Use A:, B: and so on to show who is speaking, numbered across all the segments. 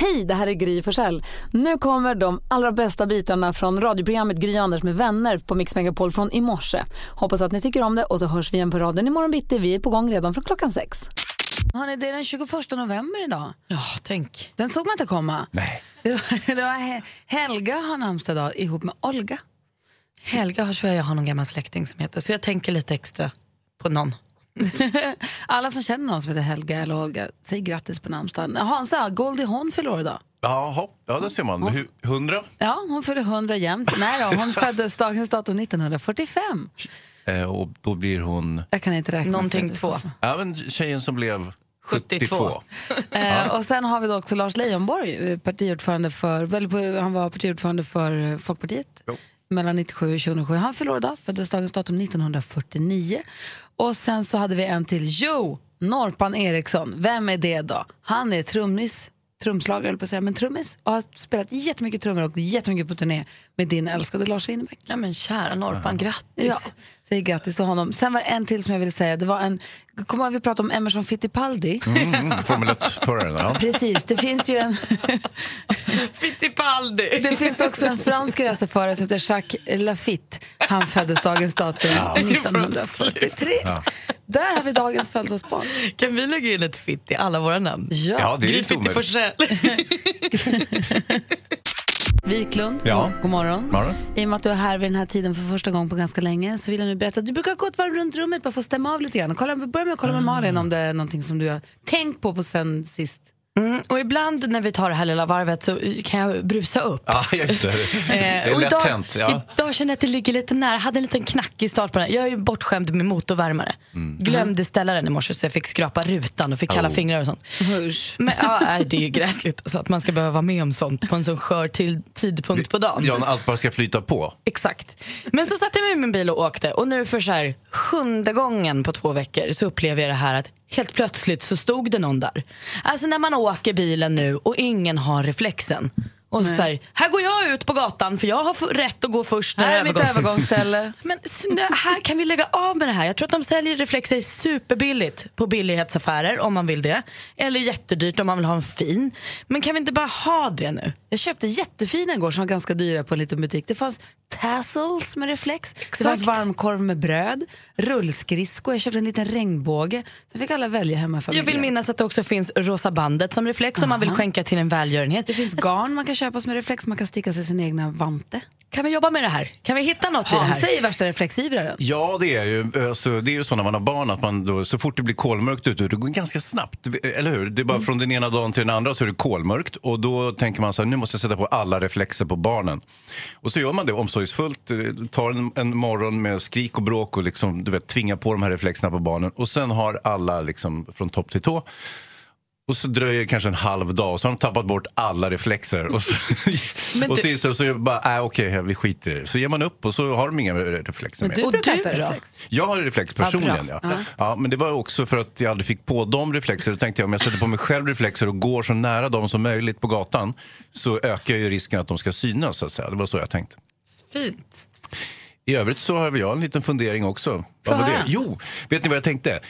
A: Hej, det här är Gry Forssell. Nu kommer de allra bästa bitarna från radioprogrammet Gry Anders med vänner på Mix Megapol från i morse. Hoppas att ni tycker om det och så hörs vi igen på raden imorgon bitti. Vi är på gång redan från klockan sex. Hörrni, det är den 21 november idag.
B: Ja, tänk.
A: Den såg man inte komma.
C: Nej.
A: Det var, det var He- Helga har namnsdag idag ihop med Olga.
B: Helga har, tror jag, jag har någon gammal släkting som heter, så jag tänker lite extra på någon.
A: Alla som känner någon som heter Helga eller Olga, säg grattis på namnsdagen. Hansa, Goldie Hawn fyller år idag.
D: Jaha, ja det ser man. Hu- 100.
A: Ja, hon fyller 100 jämt. Nej då, hon föddes dagens datum 1945.
D: Eh, och då blir hon...
A: Jag kan inte räkna. så
B: Någonting
A: du-
B: två.
D: Även tjejen som blev 72.
B: 72.
A: Eh, och sen har vi då också Lars Leijonborg, eh, partiordförande för, väl, på- han var partiordförande för eh, Folkpartiet mellan 97 och 2007. Han förlorade idag, föddes dagens datum 1949. Och sen så hade vi en till, Jo Norpan Eriksson. Vem är det då? Han är trummis, trumslagare höll jag på att säga, men trummis. Och har spelat jättemycket trummor och åkt jättemycket på turné med din älskade Lars Winnerbäck.
B: Ja, men kära Norpan,
A: Ja,
B: grattis.
A: säger grattis till honom. Sen var det en till som jag ville säga, det var en, kommer jag ihåg vi pratade om Emerson Fittipaldi?
D: Mm, Formel 1-föraren. Ja.
A: Precis, det finns ju en...
B: Fittipaldi!
A: Det finns också en fransk racerförare som heter Jacques Lafitte. Han föddes dagens datum 1943. Där har vi dagens födelsedagsbarn.
B: Kan vi lägga in ett fitt i alla våra namn?
D: Ja, det är
B: Gry
D: inte omöjligt.
B: Forssell.
A: Wiklund,
D: Ja.
A: god morgon.
D: Morgon.
A: I och med att du är här vid den här tiden för första gången på ganska länge så vill jag nu berätta att du brukar gå ett varv runt rummet bara för att stämma av lite grann. Kolla, börja med att kolla med
D: Mm.
A: Malin om det är någonting som du har tänkt på, på sen sist.
B: Mm, och ibland när vi tar det här lilla varvet så kan jag brusa upp.
D: ja, just det. Det
B: Eh,
D: är
B: och
D: lätt
B: idag,
D: hänt. Ja.
B: idag känner jag att det ligger lite nära. Jag hade en liten knackig start på den. här. Jag är ju bortskämd med motorvärmare.
D: Mm.
B: Glömde ställa den i morse så jag fick skrapa rutan och fick
D: Oh.
B: kalla fingrar och sånt.
A: Hörs.
B: Men, ja, nej, det är ju gräsligt alltså, att man ska behöva vara med om sånt på en sån skör till tidpunkt på dagen.
D: Jan, allt bara ska flyta på.
B: Exakt. Men så satte jag mig i min bil och åkte och nu för så här sjunde gången på två veckor så upplever jag det här att helt plötsligt så stod det någon där. Alltså när man åker bilen nu och ingen har reflexen. Och så här, här går jag ut på gatan för jag har f- rätt att gå först när
A: Här är
B: det är
A: mitt
B: övergångs-
A: övergångsställe.
B: Men snö, här kan vi lägga av med det här. Jag tror att de säljer reflexer superbilligt på billighetsaffärer om man vill det. Eller jättedyrt om man vill ha en fin. Men kan vi inte bara ha det nu?
A: Jag köpte jättefina igår som var ganska dyra på en liten butik. Det fanns tassels med reflex, det fanns varmkorv med bröd, rullskridsko, jag köpte en liten regnbåge. Sen fick alla välja hemma i
B: Jag
A: familjen.
B: vill minnas att det också finns rosa bandet som reflex om man vill skänka till en välgörenhet. Alltså-
A: Det finns garn man kan köpa som är reflex, man kan sticka sig sin egna vante.
B: Kan vi jobba med det här? Kan vi hitta något i det här?
A: Hans är ju värsta reflexivraren.
D: Ja, det är ju, alltså, det är ju så när man har barn att man då, så fort det blir kolmörkt ute, det går ganska snabbt, eller hur? Det är bara
B: Mm.
D: från den ena dagen till den andra så är det kolmörkt och då tänker man så här, nu måste jag sätta på alla reflexer på barnen. Och så gör man det omsorgsfullt, eh, tar en, en morgon med skrik och bråk och liksom, du vet, tvingar på de här reflexerna på barnen och sen har alla liksom från topp till tå och så dröjer det kanske en halv dag och så har de tappat bort alla reflexer. Och så,
B: Men
D: och
B: du-
D: så inser de så är det bara, äh, okej, vi skiter i det. Så ger man upp och så har de inga reflexer mer.
A: Du
B: Och
A: brukar
B: du
A: äta
B: då?
A: reflex.
D: Jag har reflex personligen, ja. Ja. Men det var också för att jag aldrig fick på dem reflexer. Då tänkte jag om jag sätter på mig själv reflexer och går så nära dem som möjligt på gatan så ökar ju risken att de ska synas, så att säga. Det var så jag tänkte.
B: Fint.
D: I övrigt så har jag en liten fundering också. Vad var
A: höra.
D: det? Jo, vet ni vad jag tänkte?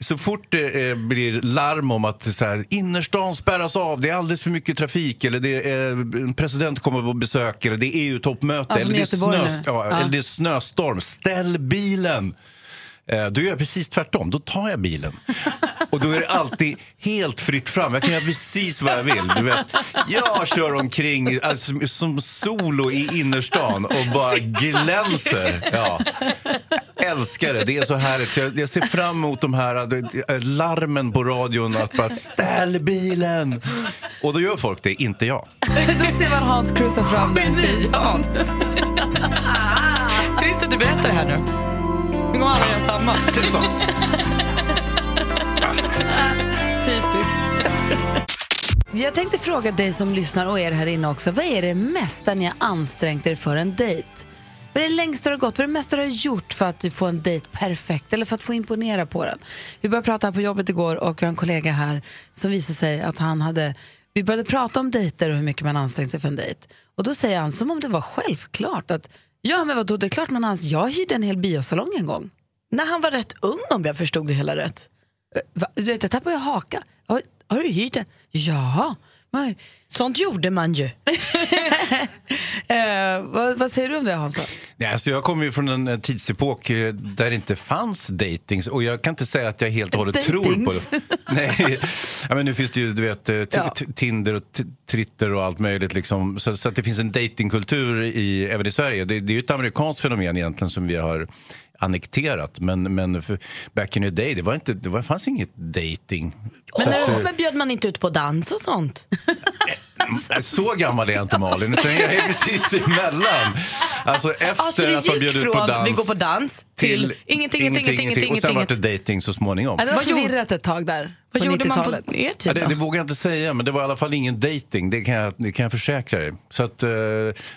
D: Så fort det eh, blir larm om att så här, innerstan spärras av, det är alldeles för mycket trafik eller det är, eh, en president kommer på besök eller det är EU-toppmöte
A: Ja, som
D: eller, det är
A: i Göteborg nu.
D: snös- ja,
A: Ja.
D: eller det är snöstorm, ställ bilen! Eh, Då gör jag precis tvärtom, då tar jag bilen. Och då är det alltid helt fritt fram. Jag kan göra precis vad jag vill. Du vet, jag kör omkring alltså, som solo i innerstan och bara glänser. Ja. Älskar det, det är så härligt. Så Jag, jag ser fram emot de här eh, larmen på radion att bara ställ bilen. Och då gör folk det, inte jag.
A: Då ser man Hans kryssa fram med sig.
B: Trist att du berättar det här nu. Vi kommer aldrig göra samma.
D: Tusan.
A: Typiskt. Jag tänkte fråga dig som lyssnar och er här inne också. Vad är det mesta ni har ansträngt er för en dejt? Vad är det längsta du har gått? Vad är det mesta du har gjort för att få en dejt perfekt eller för att få imponera på den? Vi började prata här på jobbet igår och vi har en kollega här som visade sig att han hade... Vi började prata om dejter och hur mycket man anstränger sig för en dejt. Och då säger han som om det var självklart att ja men vadå, det är klart man anstränger Jag hyrde en hel biosalong en gång.
B: När han var rätt ung om jag förstod det hela rätt.
A: Eh, Va? Du vet, jag tappade ju haka. Har, har du hyrt den? Ja. Men,
B: Sånt gjorde man ju.
A: eh, vad, vad säger du om det Hansa?
D: Nej, alltså jag kommer ju från en eh, tidsepok eh, där det inte fanns datings och jag kan inte säga att jag helt och hållet tror på
A: Datings.
D: det. Nej, ja, men nu finns det ju du vet, eh, t-
A: Ja.
D: t- Tinder och t- Twitter och allt möjligt. Liksom. Så, så att det finns en datingkultur i, även i Sverige. Det, det är ju ett amerikanskt fenomen egentligen som vi har annekterat. Men, men för, back in the day, det, var inte, det var, fanns inget dating.
B: Men,
D: Så
B: när
D: att,
B: du
D: eh,
B: var med bjöd man inte ut på dans och sånt?
D: eh, så gammal är jag inte Malin, utan jag är precis emellan. Alltså efter
B: Alltså
D: att de
B: det gick
D: bjöd ut
B: från
D: på dans
B: vi går på dans till, ingenting, ingenting, ingenting, ingenting.
D: Och sen var det dating så småningom.
A: Ja, Det var
B: Vad gjorde-
A: förvirrat ett tag där
B: Vad
A: på typ.
B: gjorde man
A: 90-talet.
B: på er
D: Ja,
B: tid
D: det,
B: då?
D: det vågar jag inte säga, men det var i alla fall ingen dating. Det kan jag, det kan jag försäkra dig. Så att, eh,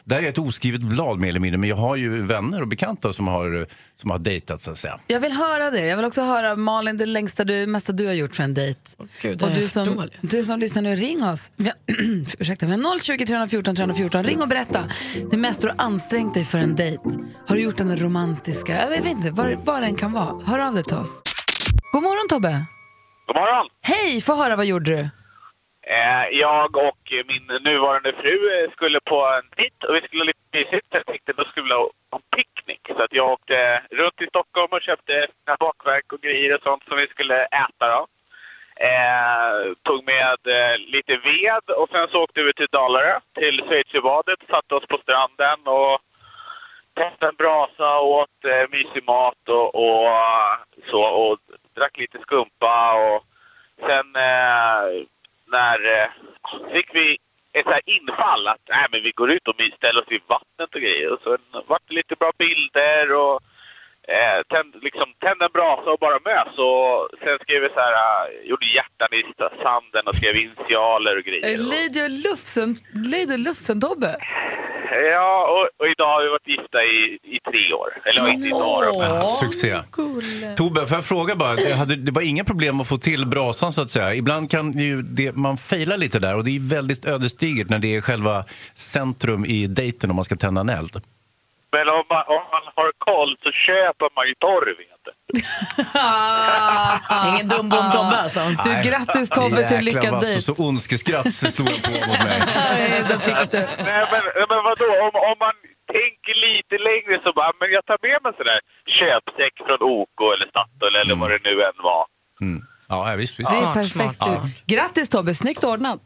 D: där är ett oskrivet blad mer eller mindre. Men jag har ju vänner och bekanta som har, som har dejtat så att säga.
A: Jag vill höra det. Jag vill också höra Malin, det längsta du, mesta du har gjort för en dejt.
B: Gud, det
A: och
B: här är
A: du
B: för
A: som,
B: dåligt.
A: du som lyssnar nu, ring oss. Ja, ursäkta, men 020 314 314. Ring och berätta. Det mesta du har ansträngt dig för en dejt. Har du gjort den romantiska? Jag vet inte, vad, vad den kan vara. Hör av dig till oss. God morgon Tobbe.
E: God morgon!
A: Hej, få höra vad gjorde du?
E: Eh, jag och min nuvarande fru eh, skulle på en dejt och vi skulle ha lite mysigt. Jag tänkte då skulle vi ha en picknick. Så att jag åkte runt i Stockholm och köpte fina bakverk och grejer och sånt som vi skulle äta då. Eh, tog med eh, lite ved och sen så åkte vi till Dalarö, till Schweizerbadet, satte oss på stranden och tänkte en brasa och åt eh, mysig mat och, och eh, så och drack lite skumpa och sen eh, när eh, fick vi ett så här infall att nej men vi går ut och mysställer oss vid vattnet och grejer och sen vart det lite bra bilder och eh, tänd, liksom, tände en brasa och bara mös och sen skrev vi så här, eh, gjorde hjärtan i sanden och skrev initialer och grejer. Och,
A: Lady Lufsen, Lady Lufsen Tobbe.
E: Ja, och, och idag har vi varit gifta i, i tre år. Eller inte i några år, men
D: Succé. Tobbe, får jag fråga bara? Det, hade, det var inga problem att få till brasan så att säga. Ibland kan ju det, man fejla lite där och det är väldigt ödesdigert när det är själva centrum i dejten om man ska tända en eld.
E: Men om man, om man har koll så köper man ju torv. vet du.
B: Ingen dum bom Tobbe alltså.
A: Du,
D: Nej.
A: grattis Tobbe till lyckad
D: Jäklar
A: dejt.
D: vass och så ondskeskratt slog han på mot mig.
A: Nej, då fick du.
E: Nej, men, men vadå? Om, om man tänker lite längre så bara, "Ah, men jag tar med mig sådär köpsäck från OK eller Statoil eller vad det nu än var.
D: Ja, ja, visst, visst.
A: Det är
B: Smart,
A: perfekt.
B: smart.
A: du. Grattis Tobbe, snyggt ordnat.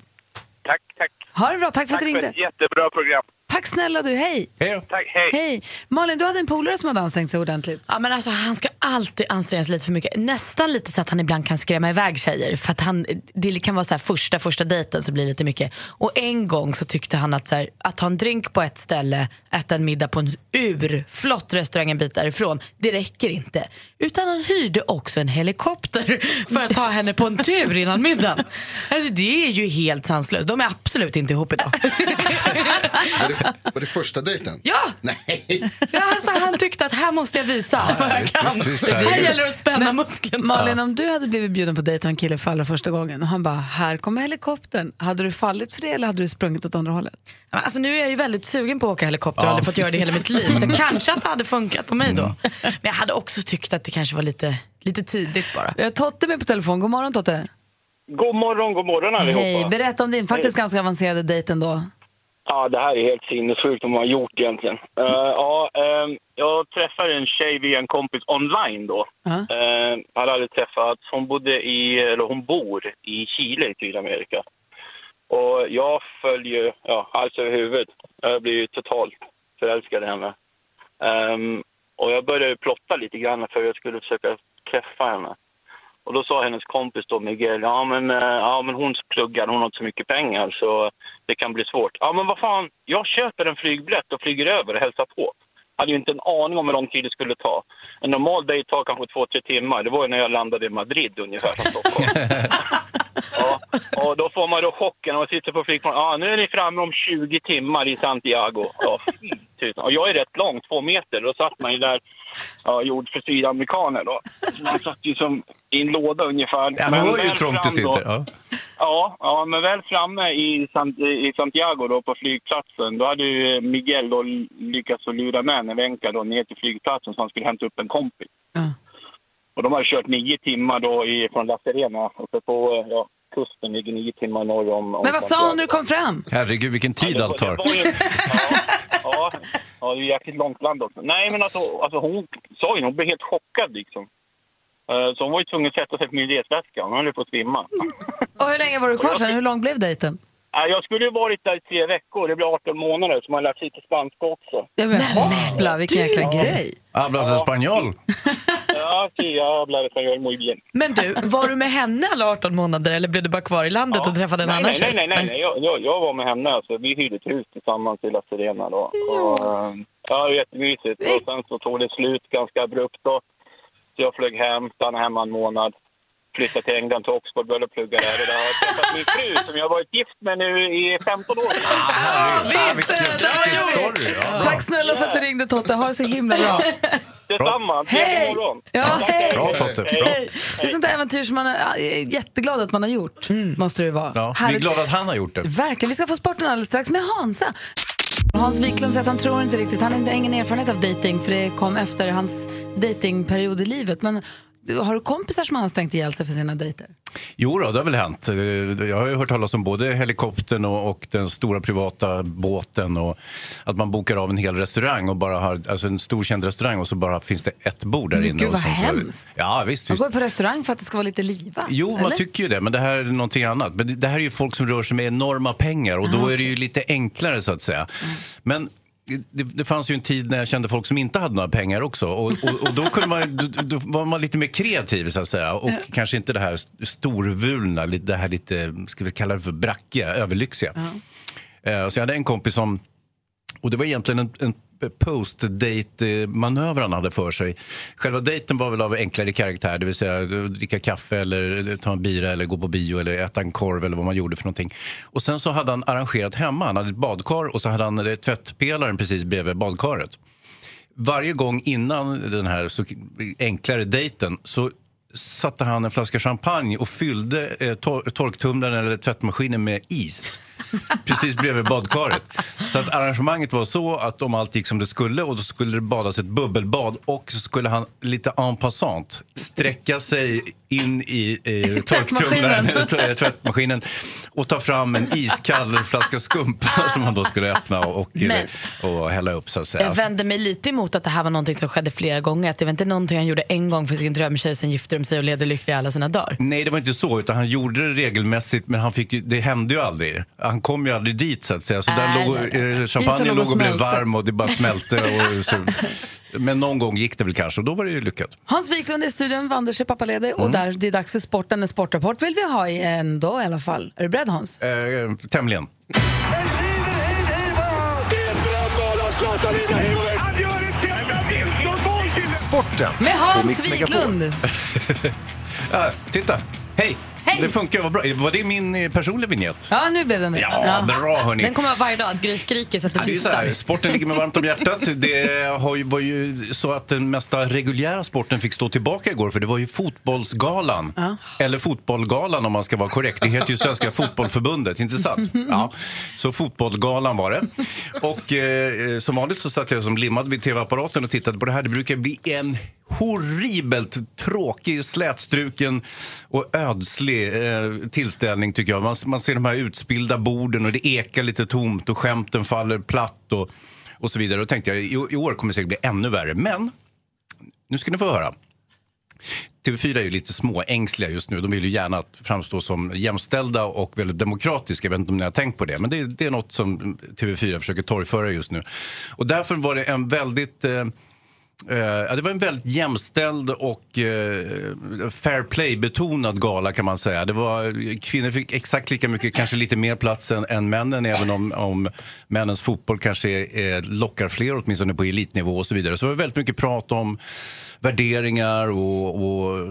E: Tack, tack.
A: Ha det bra, tack för att
E: Tack
A: du
E: för
A: ringde.
E: ett jättebra program.
A: Tack snälla du, hej.
D: Hej då.
E: Tack, hej.
A: Hej. Malin, du hade en polare som hade ansträngt sig ordentligt.
B: Ja, men alltså, han ska alltid anstränga sig lite för mycket. Nästan lite så att han ibland kan skrämma iväg tjejer. För att han, det kan vara så här första, första dejten så blir det lite mycket. Och en gång så tyckte han att, så här, att ta en drink på ett ställe, äta en middag på en urflott restaurang en bit därifrån, det räcker inte. Utan han hyrde också en helikopter för att ta henne på en tur innan middagen. Alltså, det är ju helt sanslöst. De är absolut inte ihop idag.
F: Var det, var det första dejten?
B: Ja!
F: Nej!
B: Ja, alltså, han tyckte att här måste jag visa vad jag kan. Här gäller det att spänna musklerna.
A: Malin, om du hade blivit bjuden på dejt av en kille för allra första gången och han bara, här kommer helikoptern. Hade du fallit för det eller hade du sprungit åt andra hållet?
B: Men Alltså, nu är jag ju väldigt sugen på att åka helikopter och hade fått göra det hela mitt liv. Så kanske att det hade funkat på mig då.
D: Mm.
B: Men jag hade också tyckt att det kanske var lite, lite tidigt bara.
A: Eh, Totte är med på telefon. God morgon Totte.
G: God morgon, god morgon allihopa.
A: Hej, berätta om din faktiskt ganska avancerade dejt ändå.
G: Ja, det här är helt sinnessjukt vad man har gjort egentligen. Eh, ja, ehm, jag träffade en tjej via en kompis online då.
A: Ja.
G: Uh, hade aldrig träffats. Hon bodde i, eller hon bor i Chile i Sydamerika. Och jag följer, ja, hals över huvudet. Jag blir ju totalt förälskad i henne. Ehm, och jag började plotta lite grann för jag skulle försöka träffa henne. Och då sa hennes kompis då, Miguel, ja men, eh, ja men hon pluggar, hon har inte så mycket pengar så det kan bli svårt. Ja men vad fan, jag köper en flygbiljett och flyger över och hälsar på. Hade ju inte en aning om hur lång tid det skulle ta. En normal dejt tar kanske två, tre timmar. Det var ju när jag landade i Madrid ungefär från Stockholm. ja, och då får man då chocken och sitter på flygplanet. Ja, nu är ni framme om 20 timmar i Santiago. Ja, fy tusan. Och jag är rätt lång, två meter. Då satt man ju där, ja, gjord för sydamerikaner då. Så Man satt ju som i en låda ungefär.
D: Ja, men hör ju hur
G: väl
D: trångt du
G: fram då-
D: sitter. Ja.
G: Ja, ja, men väl framme i, San, i Santiago då på flygplatsen, då hade ju Miguel då lyckats att lura med en vänka då ner till flygplatsen så han skulle hämta upp en kompis.
A: Ja.
G: Och de har kört nio timmar då i, från La Serena uppe på ja, kusten, ligger nio timmar norr om... om
A: Men vad sa hon när du kom fram?
D: Herregud, vilken tid
G: det
D: allt
G: var- det
D: tar.
G: var ju- Ja, ja, ja, det är ju jäkligt långt land också. Nej, men alltså, alltså hon sa ju hon blev helt chockad liksom. Eh, Så hon var ju tvungen att sätta sig på min resväska, hon höll ju på att svimma.
A: Och hur länge var du kvar sen? Hur lång blev dejten?
G: Nej, Jag skulle ju varit där i tre veckor, det blir 18 månader, så man har lärt sig lite spanska också.
A: Ja, men hoppla, vilken jäkla grej.
D: Hablas espanol.
G: Ja, sí, jag hablar español muy bien.
B: Men du, var du med henne alla 18 månader eller blev du bara kvar i landet och träffade en
G: nej,
B: annan
G: nej, nej, nej, nej, nej. Jag, jag, jag var med henne, alltså, vi hyrde ett hus tillsammans i La Serena då. Och, eh, ja, det var jättemysigt. Och sen så tog det slut ganska abrupt då. Så jag flög hem, stannade hemma en månad. Flyttade till England, till Oxford, började plugga där. Och där har jag träffat min fru som jag har varit gift med nu i 15 år.
D: Ja,
A: visst,
D: vilken-
A: det var
D: vilken
A: jobbigt.
D: story, ja.
A: Tack snälla för att du ringde Totte, ha det så himla bra.
G: Detsamma,
A: Hej!
G: trevlig morgon!
A: Ja, hej!
D: Bra Totte, bra.
A: Hej. Det är sånt där äventyr som man äh, är är jätteglad att man har gjort.
B: Mm.
A: Måste det vara.
D: Ja, vi är
A: Härligt.
D: glada att han har gjort det.
A: Verkligen. Vi ska få sporten alldeles strax med Hansa. Hans Wiklund säger att han tror inte riktigt. Han har inte ingen erfarenhet av dating för det kom efter hans datingperiod i livet. Men har du kompisar som har ansträngt ihjäl sig för sina dejter?
D: Jo då, det har väl hänt. Eh, Jag har ju hört talas om både helikoptern och, och den stora privata båten och att man bokar av en hel restaurang och bara har, alltså en stor känd restaurang och så bara finns det ett bord där
A: Men
D: inne.
A: gud,
D: och
A: vad
D: sen så-
A: hemskt.
D: Ja, visst.
A: Man
D: visst.
A: går på restaurang för att det ska vara lite livat.
D: Jo, man
A: eller?
D: tycker ju det, men det här är någonting annat. Men det, det här är ju folk som rör sig med enorma pengar och då är det ju lite enklare så att säga. Men det, det fanns ju en tid när jag kände folk som inte hade några pengar också. Och, och, och då, kunde man, då, då var man lite mer kreativ så att säga. Och kanske inte det här st- storvulna, lite- det här lite, ska vi kalla det för brackiga, överlyxiga. Eh, Så jag hade en kompis som och det var egentligen en, en post-date-manöver han hade för sig. Själva dejten var väl av enklare karaktär, det vill säga eh, dricka kaffe eller ta en bira eller gå på bio eller äta en korv eller vad man gjorde för någonting. Och sen så hade han arrangerat hemma, han hade ett badkar och så hade han eh, tvättpelaren precis bredvid badkaret varje gång innan den här så enklare dejten så satte han en flaska champagne och fyllde eh, tor- torktumlaren eller tvättmaskinen med is precis bredvid badkaret. Så att arrangemanget var så att om allt gick som det skulle och då skulle det badas ett bubbelbad och så skulle han lite en passant sträcka sig in i eh, torktumlaren,
A: Tvättmaskinen.
D: eller tvättmaskinen och ta fram en iskall flaska skumpa som han då skulle öppna och, och,
B: Men-
D: och hälla upp så att säga.
B: Jag vände mig lite emot att det här var någonting som skedde flera gånger. Att det var inte någonting han gjorde en gång för sin drömtjej, sen gifte de sig och levde lyckliga alla sina dagar.
D: Nej, det var inte så. Utan han gjorde det regelmässigt, men han fick, ju- det hände ju aldrig. Han kom ju aldrig dit, så att säga. Så
B: Nej,
D: där låg,
B: nej,
D: eh,
A: Isen låg
D: champagnen
A: och
D: låg och blev
A: smälte.
D: varm och det bara smälte. Och, så. Men någon gång gick det väl kanske och då var det ju lyckat.
A: Hans Wiklund är i studion, Wanders är pappaledig
D: Mm.
A: och där, det är dags för sporten. En sportrapport vill vi ha i- ändå i alla fall. Är du beredd Hans?
D: Eh, tämligen.
C: Sporten!
A: Med
C: På
A: Hans
C: Mix Megapol.
A: Wiklund!
D: Ah, titta! Hej!
A: Hej!
D: Det funkar, vad bra. Var det min eh, personliga vignett?
A: Ja, nu blev den det.
D: Ja, bra, hörni.
B: Den kommer varje dag, att Gry skriker så att det
D: Ja, det är ju så
B: distar.
D: här, sporten ligger mig varmt om hjärtat. Det har ju, var ju så att den mesta reguljära sporten fick stå tillbaka igår för det var ju fotbollsgalan. Eller fotbollgalan om man ska vara korrekt. Det heter ju Svenska Fotbollförbundet, inte sant? Ja. Så fotbollgalan var det. Och eh, som vanligt så satt jag som limmad vid tv-apparaten och tittade på det här. Det brukar bli en horribelt tråkig, slätstruken och ödslig eh, tillställning tycker jag. Man, man ser de här utspillda borden och det ekar lite tomt och skämten faller platt och, och så vidare. Då tänkte jag i, i år kommer det säkert bli ännu värre. Men nu ska ni få höra. TV4 är ju lite småängsliga just nu. De vill ju gärna att framstå som jämställda och väldigt demokratiska. Jag vet inte om ni har tänkt på det, men det är, det är något som TV4 försöker torgföra just nu. Och därför var det en väldigt eh, Eh, ja, det var en väldigt jämställd och eh, fair play-betonad gala kan man säga. Det var, kvinnor fick exakt lika mycket, kanske lite mer plats än, än männen, även om, om männens fotboll kanske eh, lockar fler, åtminstone på elitnivå och så vidare. Så det var väldigt mycket prat om värderingar och, och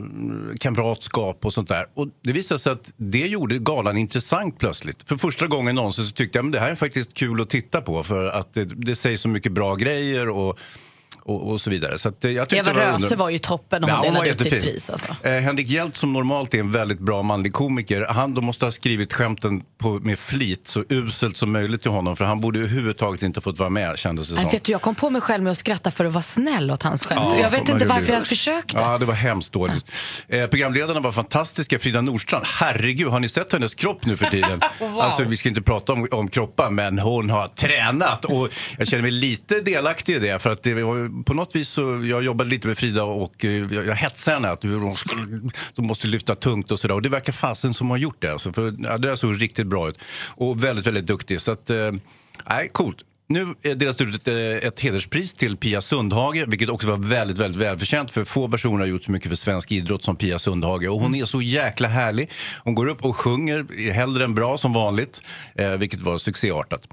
D: kamratskap och sånt där. Och det visade sig att det gjorde galan intressant plötsligt. För första gången någonsin så tyckte jag att det här är faktiskt kul att titta på för att det, det sägs så mycket bra grejer. och och, och så vidare. Så att, eh, jag tyckte
B: Eva
D: det var
B: Röse
D: under-
B: var ju toppen och
D: Ja,
B: hon
D: hon var
B: delade ut sitt
D: jättefin.
B: pris. Alltså.
D: Eh, Henrik Hjelt som normalt är en väldigt bra manlig komiker, han då måste ha skrivit skämten på, med flit så uselt som möjligt till honom för han borde överhuvudtaget inte fått vara med kändes det
B: Nej,
D: som.
B: vet du, jag kom på mig själv med att skratta för att vara snäll åt hans skämt.
D: Ja,
B: jag vet
D: man
B: inte
D: gjorde
B: varför
D: det.
B: jag försökte.
D: Ja, det var hemskt dåligt. Eh, programledarna var fantastiska. Frida Nordstrand, herregud, har ni sett hennes kropp nu för tiden? Alltså, vi ska inte prata om, om kroppar, men hon har tränat. Och jag känner mig lite delaktig i det, för att det var, på något vis så, jag jobbade lite med Frida och eh, jag, jag hetsade henne att hur hon skulle, de måste lyfta tungt och sådär. Och det verkar fasen som hon har gjort det. Alltså, för, ja, det där såg riktigt bra ut. Och väldigt, väldigt duktig. Så att, eh, nej, coolt. Nu eh, delas det ut ett, eh, ett hederspris till Pia Sundhage, vilket också var väldigt, väldigt välförtjänt. För få personer har gjort så mycket för svensk idrott som Pia Sundhage. Och hon är så jäkla härlig. Hon går upp och sjunger hellre än bra som vanligt, eh, vilket var succéartat.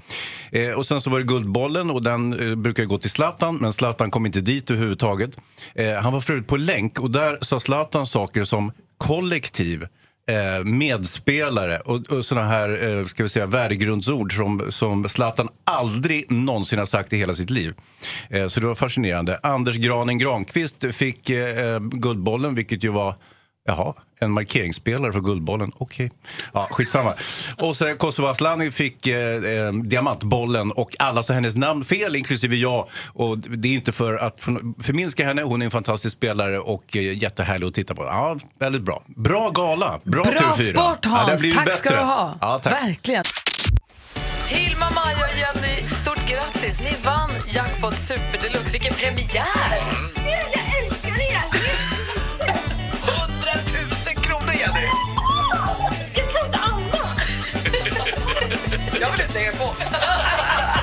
D: Eh, och sen så var det Guldbollen och den eh, brukar ju gå till Zlatan, men Zlatan kom inte dit överhuvudtaget. Eh, han var förut på länk och där sa Zlatan saker som kollektiv, eh, medspelare och, och såna här eh, ska vi säga, värdegrundsord som, som Zlatan aldrig någonsin har sagt i hela sitt liv. Eh, så det var fascinerande. Anders Granen Granqvist fick eh, eh, Guldbollen, vilket ju var Jaha, en markeringsspelare för Guldbollen. Okej. Ja, skitsamma. Och så Kosovo Asllani fick eh, eh, Diamantbollen och alla sa hennes namn fel, inklusive jag. Och det är inte för att för- förminska henne. Hon är en fantastisk spelare och eh, jättehärlig att titta på. Ja, väldigt bra. Bra gala. Bra,
A: Bra
D: TV4.
A: sport
D: Ja, det har
A: Hans,
D: blivit
A: tack ska
D: bättre.
A: du ha.
D: Ja, tack.
A: Verkligen.
H: Hilma, Maja och Jenny, stort grattis! Ni vann Jackpot Super Deluxe. Vilken premiär! Jag älskar er! 100 000 kronor, Jenny! Jag trodde annat! Jag vill inte lägga på.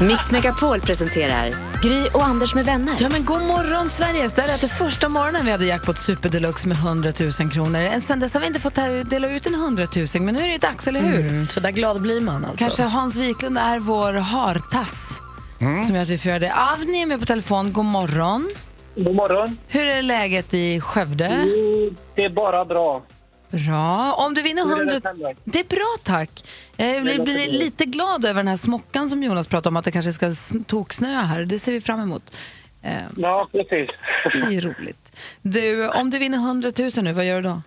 I: Mix Megapol presenterar Gry och Anders med vänner.
A: Ja, men god morgon, Sverige! Så Det här är att det första morgonen vi hade jackpot super deluxe med 100 000 kronor. Än Sen dess har vi inte fått ta- dela ut en 100 000, men nu är det dags, eller hur?
B: Mm, Så där glad blir man alltså.
A: Kanske Hans Wiklund är vår hartass
B: Mm.
A: som gör att vi får göra det. Avni är med på telefon. God morgon.
J: God morgon.
A: Hur är läget i Skövde?
J: Jo, Det är bara bra.
A: Bra. Om du vinner
J: Hur är det
A: 100...
J: själv
A: Det är bra, tack. Jag blir,
J: låter
A: blir
J: bra.
A: lite glad över den här smockan som Jonas pratade om, att det kanske ska sn- toksnöa här. Det ser vi fram emot. Eh,
J: Ja, precis.
A: Det är ju roligt. Du, om du vinner 100 000 nu, vad gör du då?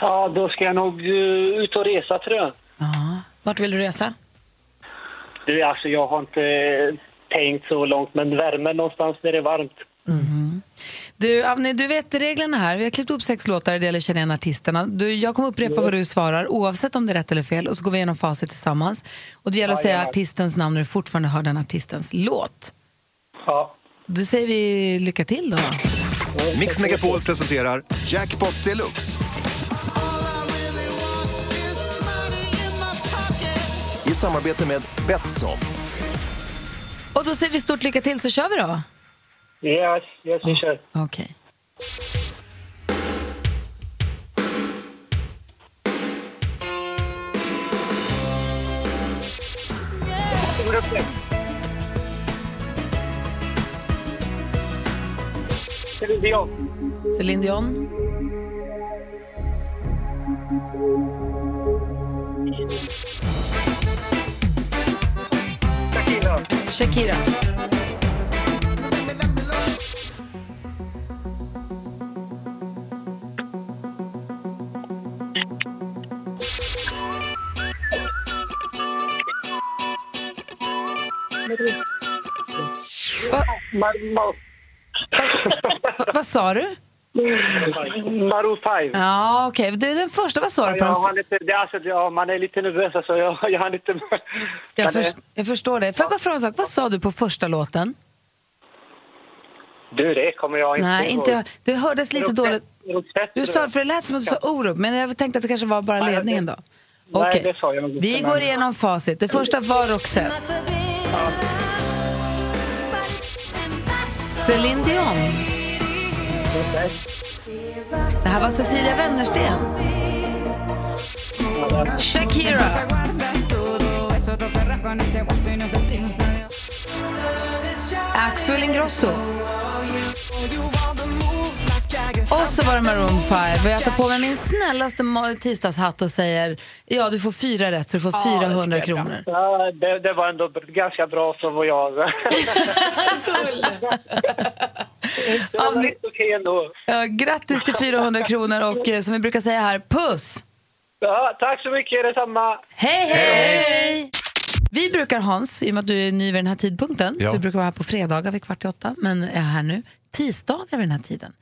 J: Ja, då ska jag nog eh, ut och resa tror jag.
B: Vart vill du resa?
J: Du, alltså jag har inte eh, tänkt så långt, men värme någonstans där det är varmt.
A: Mm-hmm. Du, Avni, du vet reglerna här. Vi har klippt upp sex låtar, det gäller att känna igen artisterna. Du, jag kommer
J: Mm.
A: upprepa vad du svarar, oavsett om det är rätt eller fel, och så går vi igenom facit tillsammans. Och det gäller att
J: Ja,
A: säga
J: gärna.
A: artistens namn när du fortfarande hör den artistens låt.
J: Ja.
A: Då säger vi lycka till då.
K: Mix Megapol presenterar Jackpot Deluxe. I samarbete med Betsson.
A: Och då säger vi stort lycka till, så kör vi då.
J: Yes, yes, vi kör.
A: Okej.
J: Céline Dion.
A: Céline Dion.
J: Shakira.
A: Shakira.
J: Mar-
A: Va- vad sa du?
J: Maroon 5.
A: Ja, okej. Du är den första. Vad sa
J: Ja,
A: du på
J: jag
A: den?
J: har lite, det, är alltså, ja, man är lite nervös, alltså, jag, jag har lite...
A: Jag,
J: Men,
A: förs-
J: eh,
A: jag förstår det. Får jag bara fråga en sak? Vad sa du på första låten?
J: Du, det kommer jag inte
A: Nej,
J: ihåg.
A: inte, det hördes lite
J: Roxette-
A: dåligt.
J: Roxette,
A: Du
J: tror
A: sa,
J: jag.
A: för det lät som att du sa Orup, men jag tänkte att det kanske var bara
J: Nej,
A: ledningen då.
J: det- Nej,
A: Okej.
J: det sa jag inte,
A: Vi
J: men-
A: går igenom facit. Det första var Roxette. Céline Dion. Det här var Cecilia Wennersten. Shakira. Axel Ingrosso. Och så var det Maroon 5 och jag tar på mig min snällaste ma- tisdagshatt och säger ja du får fyra rätt så du får 400 kronor.
J: Ja, det, det var ändå ganska bra så var jag. det var helt okej ändå.
A: Ja, grattis till 400 kronor och eh, som vi brukar säga här, puss!
J: Ja, tack så mycket, detsamma.
A: Hej, hej! Vi brukar, Hans, i och med att du är ny vid den här tidpunkten,
H: Ja.
A: du brukar vara här på fredagar vid kvart i åtta, men är här nu, tisdagar vid den här tiden,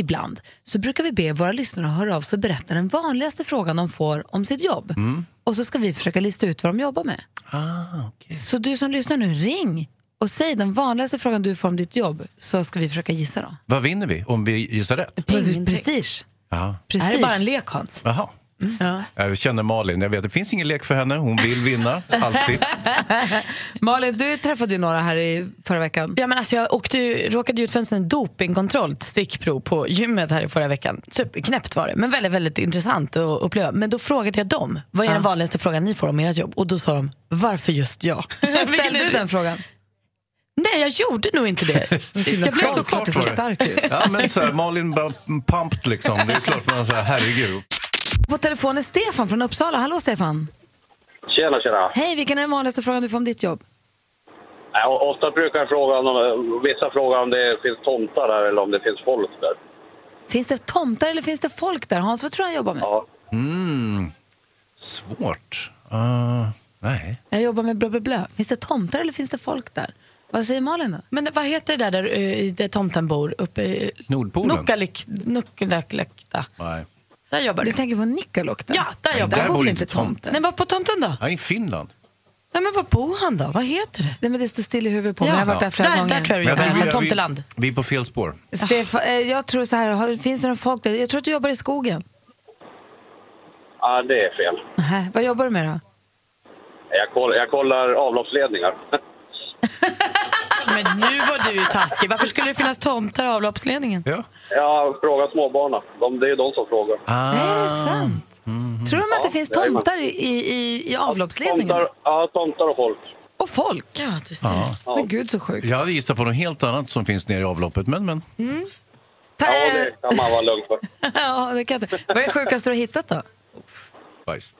A: ibland, så brukar vi be våra lyssnare höra av sig och berätta den vanligaste frågan de får om sitt jobb.
D: Mm.
A: Och så ska vi försöka lista ut vad de jobbar med.
D: Ah.
A: Så du som lyssnar nu, ring och säg den vanligaste frågan du får om ditt jobb, så ska vi försöka gissa då.
D: Vad vinner vi om vi gissar rätt?
A: Prestige.
D: Ja.
A: Prestige.
B: Det här är bara en lek, Hans.
D: Jaha.
A: Ja.
D: Jag känner Malin, jag vet det finns ingen lek för henne. Hon vill vinna, alltid.
A: Malin, du träffade ju några här i förra veckan.
B: Ja, men alltså jag åkte ju, råkade ju ut för en sån här dopingkontroll, ett stickprov på gymmet här i förra veckan. Superknäppt var det, men väldigt, väldigt intressant att uppleva. Men då frågade jag dem, vad är den vanligaste frågan ni får om ert jobb? Och då sa de, varför just jag?
A: Ställde du den frågan?
B: Nej, jag gjorde nog inte det. jag blev så chockad.
D: Ja, men så här, Malin bara pumped liksom. Det är klart man säger herregud.
A: På telefon är Stefan från Uppsala. Hallå Stefan!
L: Tjena, tjena.
A: Hej, vilken är den vanligaste frågan du får om ditt jobb?
L: Äh, o- Ofta brukar jag fråga om, vissa frågar om det finns tomtar där eller om det finns folk där.
A: Finns det tomtar eller finns det folk där? Hans, vad tror du han jobbar med?
D: Mm. Svårt. Ah, nej.
A: Jag jobbar med blö, blö, blö. Finns det tomtar eller finns det folk där? Vad säger Malin då?
B: Men vad heter det där, där, eh, där tomten bor? Uppe i...
D: Nordpolen?
B: Nokkalik- Nokkalakta.
D: Nej.
B: Där jobbar du.
A: Du tänker på Nikkaluokta?
B: Ja, där jobbar
D: där
B: jag.
D: bor inte tomten.
B: Nej, var på tomten då?
D: Ja, I Finland.
B: Nej, men var bor han då? Vad heter det?
A: Nej, men det står still i huvudet på mig. Jag har varit där flera
B: där,
A: gånger.
B: Där tror jag
D: Men
B: du jobbar.
D: tror
B: Från
D: vi-
B: Tomteland. Ah.
D: Vi, vi är på fel spår.
A: Stefan, eh, jag tror så här, har- finns det någon folk där? Jag tror att du jobbar i skogen.
L: Ja, det är fel.
A: Nähä, vad jobbar du med då?
L: Jag, koll, jag kollar avloppsledningar.
B: Men nu var du ju taskig. Varför skulle det finnas tomtar i avloppsledningen?
D: Ja.
L: Jag frågar småbarnen. De, det är de som frågar.
E: Ah.
A: Är det sant?
L: Mhm.
A: Tror de att det finns tomtar i, i, i- i avloppsledningen?
L: Tomtar, ja, tomtar och folk.
A: Och folk? Ja, du ser.
D: Ja.
A: Men gud så sjukt.
D: Jag hade gissat på något helt annat som finns nere i avloppet, men men.
A: Ta,
L: Ja, det kan man vara lugn för.
A: ja, det kan inte. Vad är det sjukaste du har hittat då?
D: Bajs.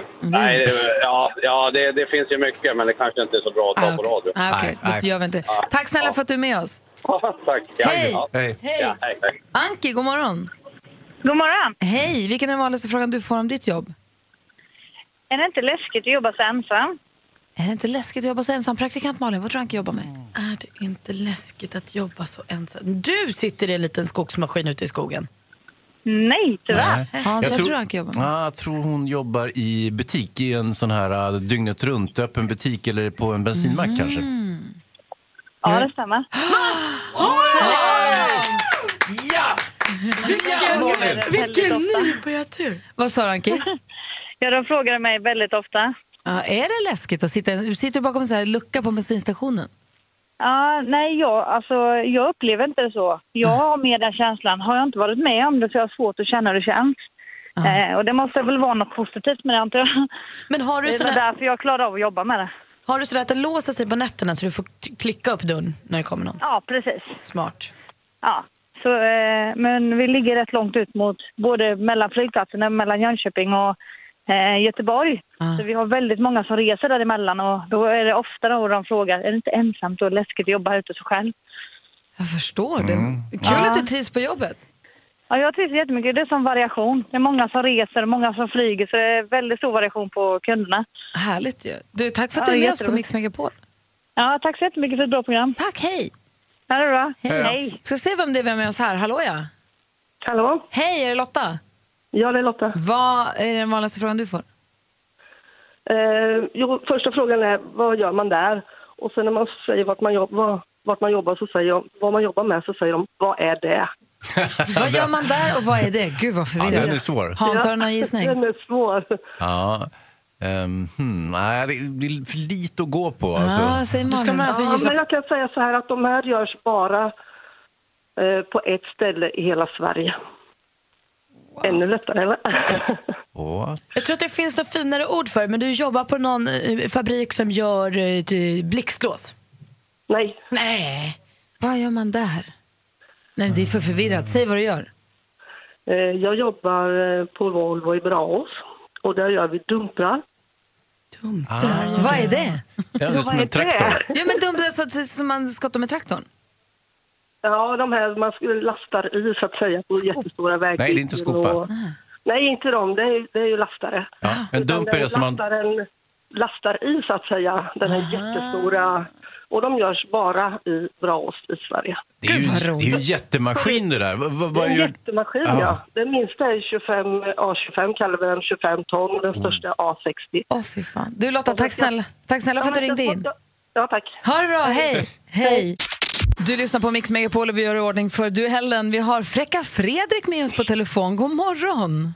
L: Eh, nej, det- ja, ja det, det finns ju mycket, men det kanske inte är så bra att ta på radio.
A: Ah, Okej, då gör vi inte det. Tack snälla för att du är med oss.
L: Tack. Ja,
A: Hej.
L: ja.
D: Hej.
L: Ja, hej, hej.
A: Anki, god morgon. God morgon. Hej, vilken är den vanligaste frågan du får om ditt jobb?
M: Är det inte läskigt att jobba så ensam?
A: Är det inte läskigt att jobba så ensam? Praktikant Malin, vad tror du Anki jobbar med?
B: Är det inte läskigt att jobba så ensam? Du sitter i en liten skogsmaskin ute i skogen.
M: Nej,
D: Nej.
A: Hans, vad tror du Anki jobbar med?
D: Ja, jag tror hon jobbar i butik, i en sån här uh, dygnet runt öppen butik eller på en bensinmack
M: Mm.
D: kanske.
A: Mm.
M: Ja, det stämmer.
D: Ja!
B: Malin! Vilken nybörjartur!
A: Vad sa du Anki?
M: Ja, de frågar mig väldigt ofta.
A: Ja, är det läskigt att sitta sitter du bakom en sån här lucka på bensinstationen?
M: Ja, nej, jag, alltså, jag upplever inte det så. Jag
A: Mm.
M: har mer den känslan. Har jag inte varit med om det så jag har svårt att känna hur det känns. Eh, och det måste väl vara något positivt med det, antar jag.
B: Men har du
M: det är väl
B: såna-
M: därför jag klarar av att jobba med det.
B: Har du sådär att den låser sig på nätterna så du får t- klicka upp dörren när det kommer någon?
M: Ja, precis.
B: Smart.
M: Ja. Så, eh, men vi ligger rätt långt ut mot både mellan flygplatserna, mellan Jönköping och eh, Göteborg.
A: Ah.
M: Så vi har väldigt många som reser däremellan och då är det ofta då de frågar, är det inte ensamt och läskigt att jobba här ute så själv?
A: Jag förstår det. Kul
M: Ja.
A: att du trivs på jobbet.
M: Ja, jag trivs jättemycket. Det är som variation. Det är många som reser och många som flyger så det är väldigt stor variation på kunderna.
A: Härligt ju. Du, tack för att
M: Ja,
A: du är med oss på
M: jätteroligt.
A: Mix Megapol.
M: Ja, tack så jättemycket för ett bra program.
A: Tack, hej!
M: Ha det bra.
A: Ska se vem det är vi har med oss här. Hallå ja!
N: Hallå?
A: Hej, är det Lotta?
N: Ja, det är Lotta.
A: Vad är den vanligaste frågan du får?
N: Eh, jo, första frågan är vad gör man där? Och sen när man säger vart man, jobb, vad, vart man jobbar så säger de, vad man jobbar med så säger de vad är det?
A: Vad gör man där och vad är det? Gud vad
D: Ja,
A: förvirrande.
D: den är svår.
A: Hans, har du någon gissning?
N: Den är svår.
D: Ja. Ehm, hmm, nej, det det är för lite att gå på.
A: Ja,
D: Alltså.
A: säger man.
N: ja, men jag kan säga så här att de här görs bara eh, på ett ställe i hela Sverige. Ännu lättare, eller?
B: Jag tror att det finns något finare ord för det, men du jobbar på någon eh, fabrik som gör eh, d- blixtlås.
N: Nej.
B: Nej.
A: Vad gör man där? Nej, det är för förvirrat. Säg vad du gör.
N: Eh, Jag jobbar eh, på Volvo i Braås och där gör vi dumprar.
A: Drar- Vad är det?
D: Ja, det är som
N: Vad är
D: en traktor.
N: det?
A: Ja, men dumprar så att som man skottar med traktorn.
N: Ja, de här man skulle lastar i så att säga på jättestora vägbyggen.
D: Nej, det är inte skopa.
N: och- Nej, inte de. Det är, det är ju lastare.
D: Ja, en
N: Utan
D: dumper
N: det
D: är som man...
N: lastaren lastar i så att säga, den här jättestora. Och de görs bara i Braås i Sverige.
D: Det är ju, det är ju en jättemaskin det där. Vad- vad-
N: Det
D: vad
N: är en
D: gör-
N: jättemaskin,
D: Ja.
N: ja. Den minsta är 25, A25 kallar vi den, 25 ton och den
D: Mm.
N: största är A60.
A: Åh, fy fan. Du Lotta, tack snälla, tack snälla för att du ringde in.
N: Ja, tack.
A: Ha det bra, hej! Hej! Du lyssnar på Mix Megapol och vi gör i ordning för duellen. Vi har Fräcka Fredrik med oss på telefon. God morgon!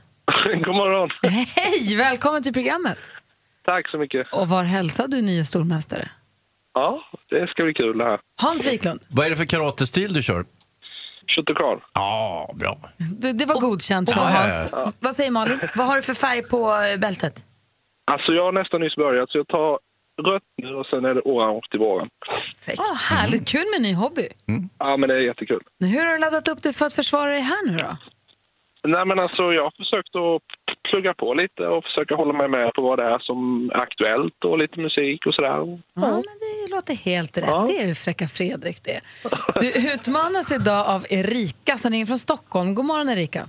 E: God morgon.
A: Hej! Välkommen till programmet.
E: Tack så mycket.
A: Och var hälsar du nye stormästare?
E: Ja, det ska bli kul det här.
A: Hans Wiklund.
D: Vad är det för karatestil du kör?
E: Shotokan.
D: Ja, bra.
A: Du, det var godkänt för
E: och-
A: Hans.
E: Ja.
A: Vad säger Malin? Vad har du för färg på eh, bältet?
E: Alltså jag har nästan nyss börjat så jag tar rött nu och sen är det orange till våren.
A: Åh, Ah, härligt, kul med ny hobby.
E: Ja men det är jättekul.
A: Mm. Hur har du laddat upp det för att försvara dig här nu då?
E: Nej men alltså jag har försökt att plugga på lite och försöka hålla mig med på vad det är som är aktuellt och lite musik och sådär.
A: Ja, men det låter helt rätt. Det är ju fräcka Fredrik det. Du utmanas idag av Erika som ringer från Stockholm. God morgon Erika.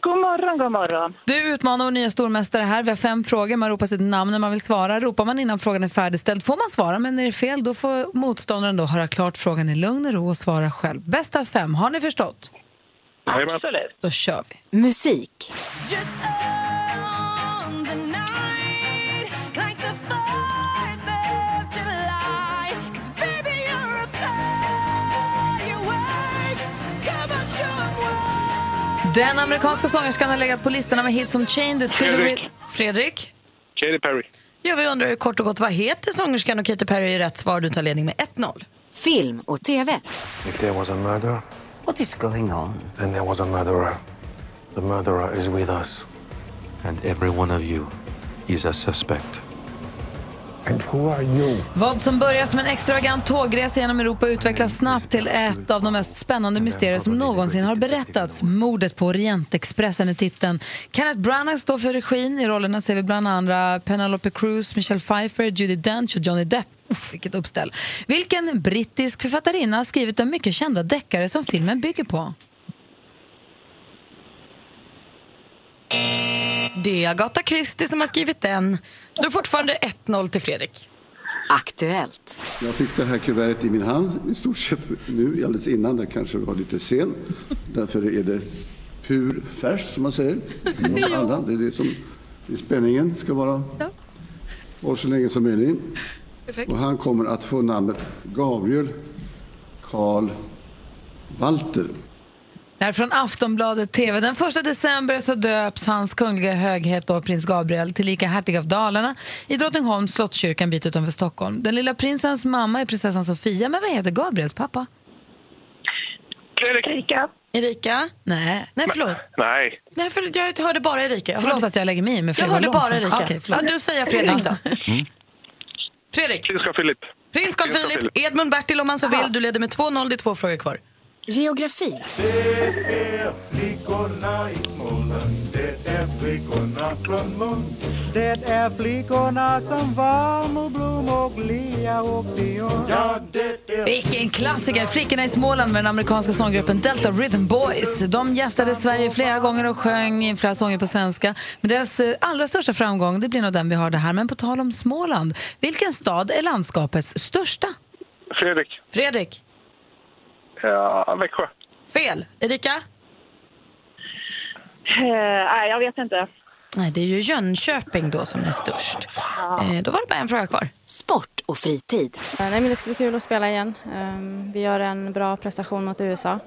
O: God morgon, god morgon.
A: Du utmanar vår nya stormästare här. Vi har fem frågor. Man ropar sitt namn när man vill svara. Ropar man innan frågan är färdigställd får man svara, men är det fel då får motståndaren då höra klart frågan i lugn och ro och svara själv. Bäst av fem. Har ni förstått?
O: Absolut.
A: Då kör vi.
I: Musik.
A: Den amerikanska sångerskan har legat på listorna med hits som Chained to the
E: Fredrik.
A: Rhythm... Fredrik?
E: Katy Perry.
B: Ah. Ja, vi undrar ju kort och gott, vad heter sångerskan och Katy Perry är rätt svar. Du tar ledning med 1-0.
I: Film och TV.
P: If there was a murder, what is going on? Then there was a murderer. The murderer is with us. And every one of you is a suspect. And who are you?
A: Vad som börjar som en extravagant tågresa genom Europa utvecklas snabbt till ett av de mest spännande mysterier som någonsin har berättats. Mordet på Orientexpressen är titeln. Kenneth Branagh står för regin. I rollerna ser vi bland andra Penelope Cruz, Michelle Pfeiffer, Judi Dench och Johnny Depp. Uff, vilket uppställ. Vilken brittisk författarinna har skrivit den mycket kända deckare som filmen bygger på?
B: Det är Agatha Christie som har skrivit den. Du är fortfarande 1-0 till Fredrik.
I: Aktuellt.
Q: Jag fick det här kuvertet i min hand i stort sett nu, alldeles innan. Det kanske var lite sen. Därför är det pur färs, som man säger. Hos alla. Det är det som det är spänningen ska vara. Och så länge som möjligt.
R: Perfekt.
Q: Och han kommer att få namnet Gabriel Karl Walter.
A: Det här är från Aftonbladet TV. Den 1 december så döps hans kungliga höghet då, prins Gabriel tillika hertig av Dalarna i Drottningholms slottskyrka en bit utanför Stockholm. Den lilla prinsens mamma är prinsessan Sofia, men vad heter Gabriels pappa?
B: Erika. Erika?
A: Nej.
B: Nej, förlåt.
E: Nej.
B: Nej, för jag hörde bara Erika. Jag
A: Förlåt
B: hörde,
A: att jag lägger mig i, men för
B: jag
A: det var
B: hörde
A: långt
B: bara
A: fram.
B: Erika.
A: Okej, förlåt.
B: ja, Mm. du säger Fredrik då. Fredrik.
E: Prins Carl Philip.
B: Prins Carl
E: Prins Carl
B: Philip, Edmund Bertil om man så vill. Du leder med 2-0, det är två frågor kvar.
I: Geografi.
S: Flickorna i Småland, det är flickorna från Lund Det är flickorna som var med blommor, glia och dion Ja, det är
A: Vilken klassiker! Flickorna i Småland med den amerikanska sånggruppen Delta Rhythm Boys. De gästade Sverige flera gånger och sjöng in flera sånger på svenska. Men deras eh, allra största framgång det blir nog den vi har det här. Men på tal om Småland, vilken stad är landskapets största?
E: Fredrik.
B: Fredrik.
E: Ja, Växjö.
B: Fel. Erika?
O: Eh, nej, jag vet inte.
B: Nej, det är ju Jönköping då som är störst. Eh, då var det bara en fråga kvar. Sport och fritid.
T: Eh, Nej, men det skulle bli kul att spela igen. Ehm, Vi gör en bra prestation mot USA,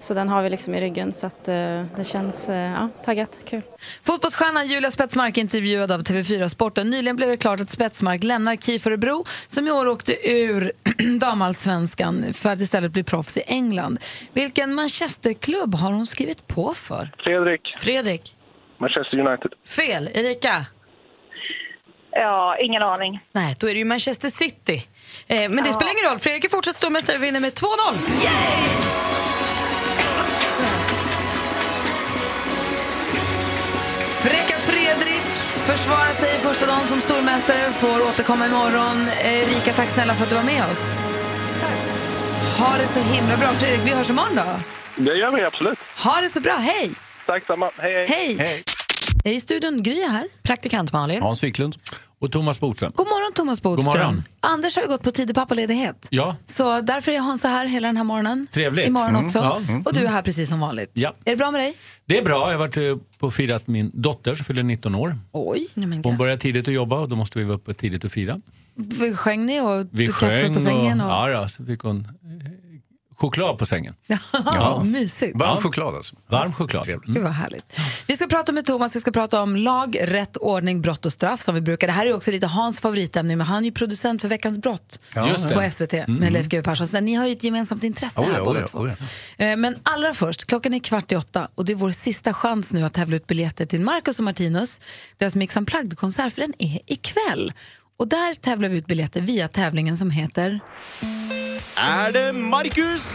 T: så den har vi liksom i ryggen. Så att eh, det känns eh, ja, taggat, kul.
A: Fotbollsstjärnan Julia Spetsmark intervjuad av TV4 Sporten. Nyligen blev det klart att Spetsmark lämnar KIF Örebro som i år åkte ur damallsvenskan för att istället bli proffs i England. Vilken Manchesterklubb har hon skrivit på för?
E: Fredrik,
A: Fredrik?
E: Manchester United.
B: Fel. Erika?
M: Ja, ingen aning.
B: Nej, då är det ju Manchester City. Eh, men det
M: Ja.
B: spelar ingen roll. Fredrik är fortsatt stormästare och vinner med 2-0.
A: Fräcka Fredrik försvarar sig första dagen som stormästare får återkomma imorgon. Erika, tack snälla för att du var med oss. Ha det så himla bra. Fredrik, vi hörs imorgon då.
E: Det gör vi absolut.
A: Ha det så bra. Hej!
E: Tack samma. Hej,
A: Hej! I studion, Gry är här. Praktikant Malin.
R: Hans Wiklund. Och Thomas Bodström.
A: God morgon Thomas Bodström.
R: God morgon.
A: Anders har ju gått på tidig pappaledighet.
R: Ja,
A: Så därför är Hans här hela den här morgonen.
R: Trevligt.
A: Imorgon
R: Mm,
A: också.
R: ja. Mm.
A: Och du är här precis som vanligt.
R: ja.
A: Är det bra med dig?
R: Det är bra. Jag har varit eh, på och firat min dotter som fyller 19 år.
A: Oj.
R: Hon börjar tidigt att jobba och då måste vi vara uppe tidigt och fira.
A: Vi sjöng ni och
R: Vi
A: du kaffe på sängen? Och...
R: Ja, ja, så fick hon eh, choklad på sängen.
A: Ja. Mysigt.
R: Varm choklad alltså. Varm choklad.
A: Gud vad härligt. Vi ska prata med Thomas, vi ska prata om lag, rätt ordning, brott och straff som vi brukar. Det här är också lite Hans favoritämne, men han är ju producent för Veckans brott
R: Ja, just det.
A: på SVT med
R: Mm.
A: Leif GW Persson. Så ni har ju ett gemensamt intresse
R: Oh ja,
A: Alltså, här
R: oh
A: båda
R: ja,
A: två.
R: oh ja.
A: Eh, Men allra först, klockan är kvart i åtta och det är vår sista chans nu att tävla ut biljetter till Marcus och Martinus, deras Mix Unplugged-konsert, för den är ikväll. Och där tävlar vi ut biljetter via tävlingen som heter...
U: Är det Marcus?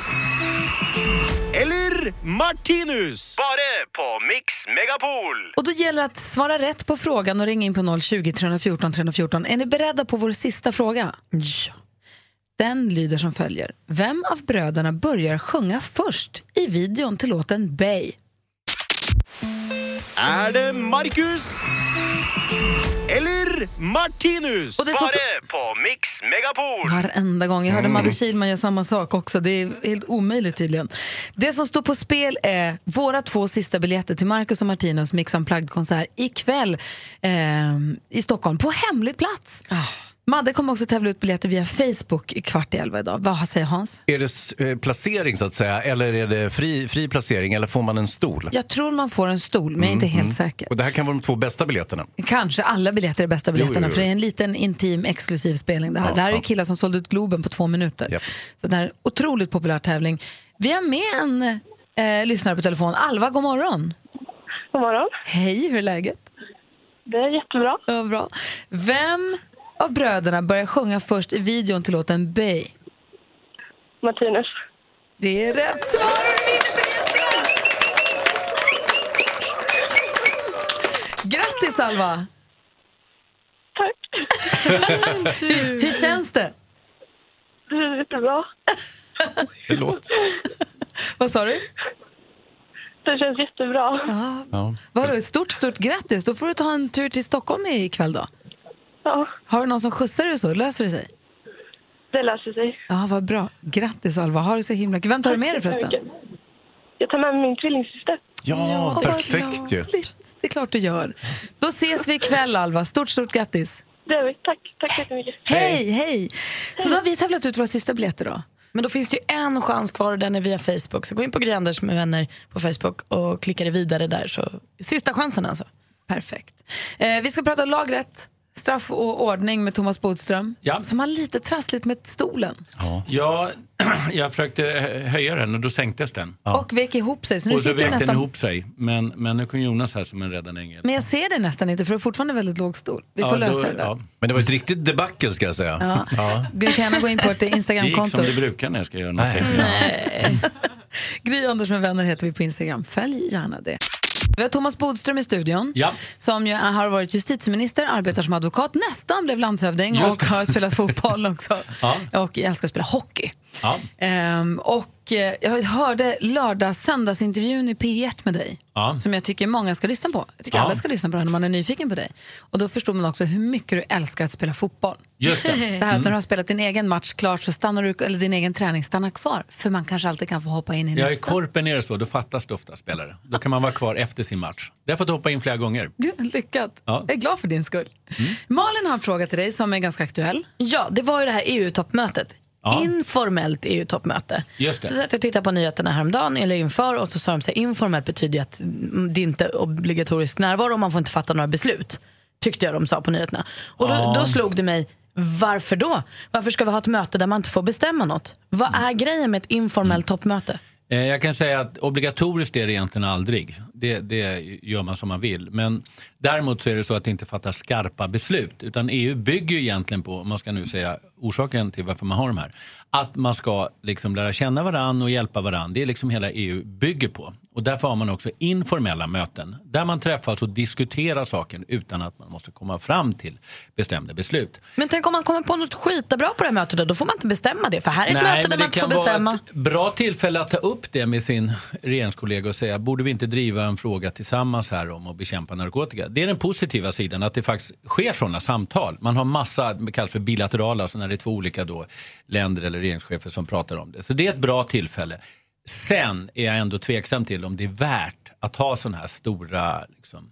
U: Eller Martinus? Bara på Mix Megapol!
A: Och då gäller det att svara rätt på frågan och ringa in på 020 314 314. Är ni beredda på vår sista fråga? Ja. Den lyder som följer. Vem av bröderna börjar sjunga först i videon till låten Bay?
U: Är det Marcus? Eller Martinus?
A: Och det är så-
U: Bara på Mix Megapol!
A: Varenda gång. Jag hörde
U: Mm.
A: Madde Kihlman göra samma sak också. Det är helt omöjligt tydligen. Det som står på spel är våra två sista biljetter till Marcus och Martinus Mix Unplugged-konsert ikväll eh, i Stockholm på hemlig plats. Madde kommer också tävla ut biljetter via Facebook i kvart i elva idag. Vad säger Hans?
D: Är det s- eh, placering så att säga eller är det fri, fri placering eller får man en stol?
A: Jag tror man får en stol, men jag är
D: Mm,
A: inte helt säker.
D: Och det här kan vara de två bästa biljetterna.
A: Kanske alla biljetter är bästa
D: Jo,
A: biljetterna,
D: jo, jo.
A: för det är en liten intim exklusiv spelning. Det här,
D: Ja,
A: det här är
D: ja.
A: killar som sålde ut Globen på två minuter. Så det här är en otroligt populär tävling. Vi har med en eh, lyssnare på telefon. Alva, god morgon.
O: God morgon.
A: Hej, hur är läget?
O: Det är jättebra.
A: Ja, bra. Vem av bröderna börjar sjunga först i videon till låten Bay?
O: Martinus.
A: Det är rätt svar! Grattis Alva! Tack! hur, hur känns det?
O: Det är jättebra.
D: Förlåt.
A: Vad sa du?
O: Det känns jättebra.
A: Ja. Vadå, stort, stort grattis! Då får du ta en tur till Stockholm ikväll då.
O: Ja.
A: Har du någon som skjutsar dig och så? Löser det sig?
O: Det löser sig.
A: Ja, vad bra. Grattis Alva, ha det så himla kul. Vem tar du med dig förresten?
O: Jag tar med mig min tvillingsyster.
D: Ja,
V: Ah,
A: vad
D: perfekt ju.
A: roligt. Det är klart du gör. Då ses vi ikväll Alva. Stort, stort grattis!
O: Det gör vi. Tack. Tack så jättemycket.
A: Hej, hej! Så då har vi tävlat ut våra sista biljetter då.
B: Men då finns det ju en chans kvar och den är via Facebook. Så gå in på Gry Anders med vänner på Facebook och klicka dig vidare där. Så sista chansen alltså.
A: Perfekt. Eh, vi ska prata lagrätt, straff och ordning med Thomas Bodström.
R: Ja.
A: Som har lite trassligt med stolen.
R: Ja. Jag, jag försökte hö- höja den och då sänktes den.
A: Och vek ihop sig. Så nu
R: Och så
A: sitter du
R: vek den
A: nästan...
R: ihop sig. Men, men nu kom Jonas här som en räddande ängel.
A: Men jag ser det nästan inte för det är fortfarande väldigt låg stol. Vi får lösa det där.
D: Men det var ett riktigt debacle ska jag säga.
A: Ja. Du kan gärna gå in på ett
R: Det gick
A: Instagramkonto.
R: som det brukar när jag ska göra något.
A: Gry Anders med vänner heter vi på Instagram. Följ gärna det. Vi har Thomas Bodström i studion.
R: Ja.
A: Som ju har varit justitieminister, arbetar som advokat, nästan blev landshövding
R: Just
A: och
R: det.
A: har spelat fotboll också.
R: Ja.
A: Och jag älskar att spela hockey.
R: Ja.
A: Ehm, och Och eh, jag hörde lördag söndagsintervjun i P1 med dig.
R: Ja.
A: Som jag tycker många ska lyssna på. Jag tycker
R: Ja.
A: alla ska lyssna på den när man är nyfiken på dig. Och då förstod man också hur mycket du älskar att spela fotboll.
R: Just det.
A: här att
R: Mm.
A: när du har spelat din egen match klart så stannar du, eller din egen träning stannar kvar. För man kanske alltid kan få hoppa in i
R: Ja, i
A: nästa.
R: korpen är det så, då fattas det ofta spelare. Då kan man vara kvar efter sin match. Det har jag fått hoppa in flera gånger.
A: Lyckat.
R: Ja.
A: Jag är glad för din skull.
R: Mm.
A: Malin har en fråga till dig som är ganska aktuell.
B: Ja, det var ju det här EU-toppmötet.
R: Ja.
B: Informellt EU-toppmöte.
R: Just det.
B: Så att jag tittade på nyheterna häromdagen, eller inför, och så sa de så här, informellt betyder ju att mm, det är inte är obligatorisk närvaro och man får inte fatta några beslut. Tyckte jag de sa på nyheterna. Och då,
V: Ja.
B: då slog det mig, varför då? Varför ska vi ha ett möte där man inte får bestämma något? Vad är grejen med ett informellt toppmöte?
R: Eh, Jag kan säga att obligatoriskt är det egentligen aldrig. Det, det gör man som man vill. Men däremot så är det så att det inte fattas skarpa beslut. Utan EU bygger ju egentligen på, om man ska nu säga orsaken till varför man har de här, att man ska liksom lära känna varann och hjälpa varann. Det är liksom hela EU bygger på. Och därför har man också informella möten där man träffas och diskuterar saken utan att man måste komma fram till bestämda beslut.
B: Men tänk om man kommer på något skitbra på det här mötet då, då får man inte bestämma det. För här är ett möte
R: men
B: där
R: det
B: man inte får
R: kan
B: bestämma.
R: Vara ett bra tillfälle att ta upp det med sin regeringskollega och säga, borde vi inte driva en fråga tillsammans här om att bekämpa narkotika? Det är den positiva sidan, att det faktiskt sker sådana samtal. Man har massa, det kallas för bilaterala, så när det är två olika då, länder eller regeringschefer som pratar om det. Så det är ett bra tillfälle. Sen är jag ändå tveksam till om det är värt att ha sådana här stora liksom,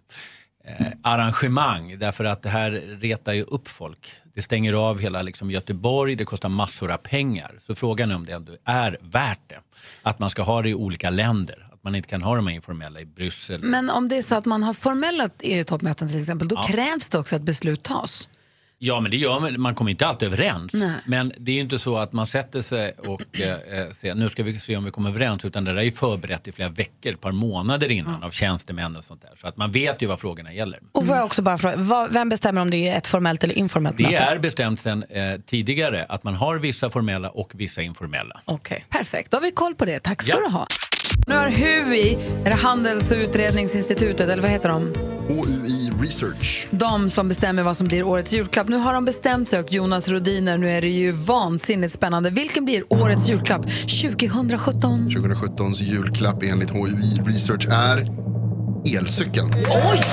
R: eh, arrangemang därför att det här retar ju upp folk. Det stänger av hela liksom, Göteborg, det kostar massor av pengar. Så frågan är om det ändå är värt det. Att man ska ha det i olika länder. Att man inte kan ha de här informella i Bryssel.
A: Men om det är så att man har formella EU-toppmöten till exempel, då
R: Ja.
A: krävs det också att beslut tas.
R: Ja, men det gör man. Man kommer inte alltid överens.
A: Nej.
R: Men det är ju inte så att man sätter sig och eh, eh, ser, nu ska vi se om vi kommer överens. Utan det där är ju förberett i flera veckor, ett par månader innan av tjänstemän och sånt där. Så att man vet ju vad frågorna gäller.
B: Och får jag också bara fråga, vad, vem bestämmer om det är ett formellt eller informellt
R: Det
B: möte?
R: är bestämt sedan eh, tidigare att man har vissa formella och vissa informella.
B: Okej.
A: Perfekt, då har vi koll på det. Tack ska
R: Ja.
A: du ha. Nu har HUI, eller Handels och utredningsinstitutet, eller vad heter de?
K: OUI Research.
A: De som bestämmer vad som blir årets julklapp. Nu har de bestämt sig och Jonas Rodiner, nu är det ju vansinnigt spännande. Vilken blir årets julklapp 2017?
F: 2017s julklapp enligt HUI Research är elcykeln. Oj!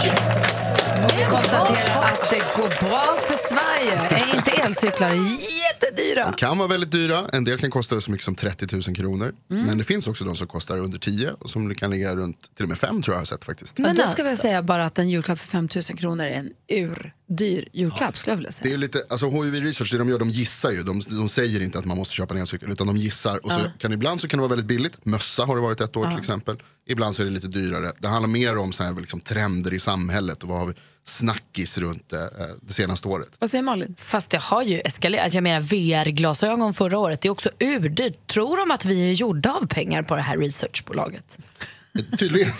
A: Vi konstaterar att det går bra för Sverige. Är inte elcyklar jättedyra?
F: De kan vara väldigt dyra. En del kan kosta så mycket som 30 000 kronor. Men det finns också de som kostar under 10 och som kan ligga runt till och med 5 tror jag har sett faktiskt.
A: Men alltså. då ska
F: alltså-
A: vi säga bara att en julklapp för 5 000 kronor är en urdyr julklapp skulle jag vilja säga.
F: Det är ju lite, alltså HIV research, det de gör, de gissar ju. De, de säger inte att man måste köpa en elcykel, utan de gissar. Och så
A: Ja.
F: kan, ibland så kan det vara väldigt billigt, mössa har det varit ett år
A: Ja.
F: till exempel. Ibland så är det lite dyrare. Det handlar mer om så här, liksom, trender i samhället och vad har vi snackis runt eh, det senaste året.
A: Vad säger Malin?
B: Fast det har ju eskalerat. alltså Jag menar VR-glasögon förra året, det är också urdyrt. Tror de att vi är gjorda av pengar på det här researchbolaget?
F: Tydligen.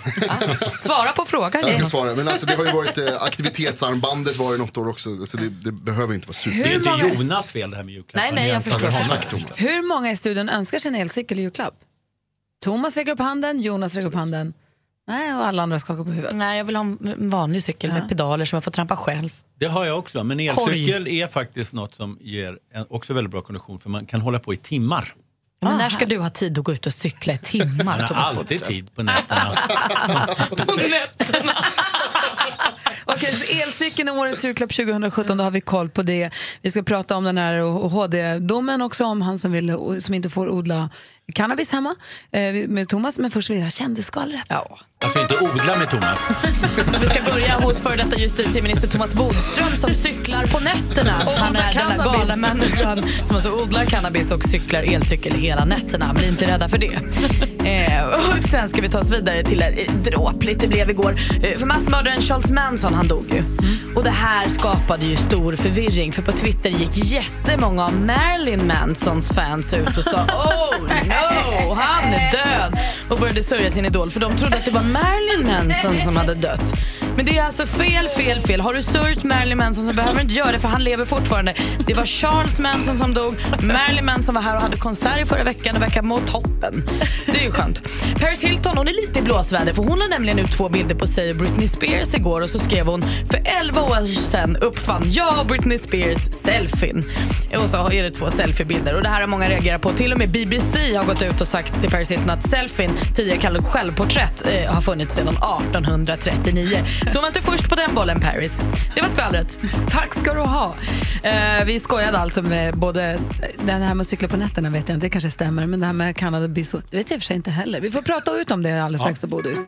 B: Svara på frågan.
F: Jag ska
B: Jonas.
F: svara, men alltså, det har ju varit eh, aktivitetsarmbandet var det något år också, så det, det behöver inte vara super.
A: Hur Det är inte många-
R: Jonas fel det här med julklappar.
A: Nej, nej, jag förstår, jag förstår.
F: Tack Thomas.
A: Hur många i studion önskar sig en elcykel i julklapp? Thomas räcker upp handen, Jonas räcker upp handen. Nej, och alla andra skakar på huvudet.
B: Nej, jag vill ha en vanlig cykel med pedaler som jag får trampa själv.
R: Det har jag också, men elcykel är faktiskt något som ger en, också väldigt bra kondition för man kan hålla på i timmar.
B: Men när ska du ha tid att gå ut och cykla i
R: Man
B: timmar,
R: har
B: Thomas
R: alltid
B: Bodström?
R: tid på nätterna.
A: Okej, så elcykeln är årets julklapp 2017, då har vi koll på det. Vi ska prata om den här HD-domen också, om han som, vill, som inte får odla cannabis hemma eh, med Thomas. Men först vill jag ha kändisskvallret. Ja.
R: Alltså inte odla med Thomas.
B: Vi ska börja hos före detta justitieminister Thomas Bodström som cyklar på nätterna.
V: Och
B: Han
V: odlar
B: är den där
V: cannabis.
B: galna människan som alltså odlar cannabis och cyklar elcykel hela nätterna. Bli inte rädda för det. Eh, och sen ska vi ta oss vidare till ett dråpligt det blev igår. Eh, för massmördaren Charles Manson, han dog ju.
V: Mm.
B: Och det här skapade ju stor förvirring för på Twitter gick jättemånga av Marilyn Mansons fans ut och sa oh no, han är död och började sörja sin idol för de trodde att det var Marilyn Manson som hade dött. Men det är alltså fel, fel, fel. Har du sörjt Marilyn Manson så behöver du inte göra det för han lever fortfarande. Det var Charles Manson som dog. Marilyn Manson var här och hade konsert i förra veckan och verkar må toppen. Det är ju skönt. Paris Hilton hon är lite i blåsväder för hon la nämligen ut två bilder på sig och Britney Spears igår och så skrev hon för 11 år sedan uppfann jag och Britney Spears selfien. Och så är det två selfiebilder och det här har många reagerat på. Till och med BBC har gått ut och sagt till Paris Hilton att selfien, tidigare kallad självporträtt, eh, har funnits sedan 1839. Så hon var inte först på den bollen Paris. Det var skvallret.
A: Tack ska du ha. Eh, vi skojade alltså med både det här med att cykla på nätterna vet jag inte, det kanske stämmer, men det här med Kanada Biso, det vet jag i och för sig inte heller. Vi får prata ut om det alldeles strax då, Bodis.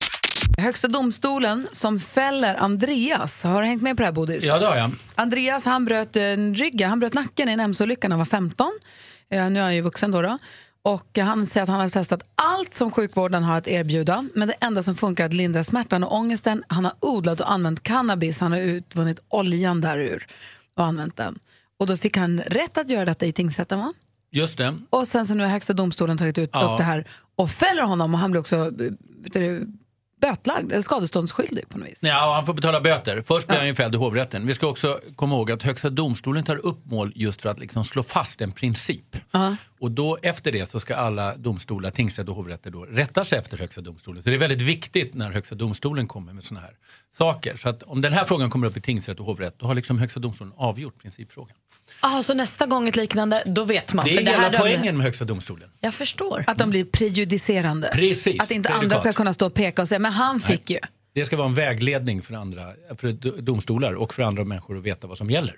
A: Högsta domstolen som fäller Andreas, har du hängt med på det här Bodis?
R: Ja, det har jag.
A: Andreas han bröt eh, ryggen, han bröt nacken i en mc-olycka när han var 15. Eh, nu är han ju vuxen då. då. Och han säger att han har testat allt som sjukvården har att erbjuda men det enda som funkar är att lindra smärtan och ångesten. Han har odlat och använt cannabis, han har utvunnit oljan därur och använt den. Och då fick han rätt att göra detta i tingsrätten va?
R: Just det.
A: Och sen så nu har högsta domstolen tagit ut,
R: Ja.
A: upp det här och fäller honom och han blir också eh, vet du, bötlagd, eller skadeståndsskyldig på något vis.
R: Ja, och han får betala böter. Först blir han ju fälld i hovrätten. Vi ska också komma ihåg att Högsta domstolen tar upp mål just för att liksom slå fast en princip. Och då, efter det så ska alla domstolar, tingsrätt och hovrätter då, rätta sig efter Högsta domstolen. Så det är väldigt viktigt när Högsta domstolen kommer med sådana här saker. Så att om den här frågan kommer upp i tingsrätt och hovrätt då har liksom Högsta domstolen avgjort principfrågan.
B: Aha, så nästa gång ett liknande, då vet man.
R: det är
B: för det här
R: hela
B: dömde-
R: poängen med Högsta domstolen.
B: Jag förstår.
A: Att de blir prejudicerande.
R: Precis,
A: Att inte
R: prejudikat.
A: andra ska kunna stå och peka och säga, men han fick ju.
R: Det ska vara en vägledning för, andra, för do- domstolar och för andra människor att veta vad som gäller.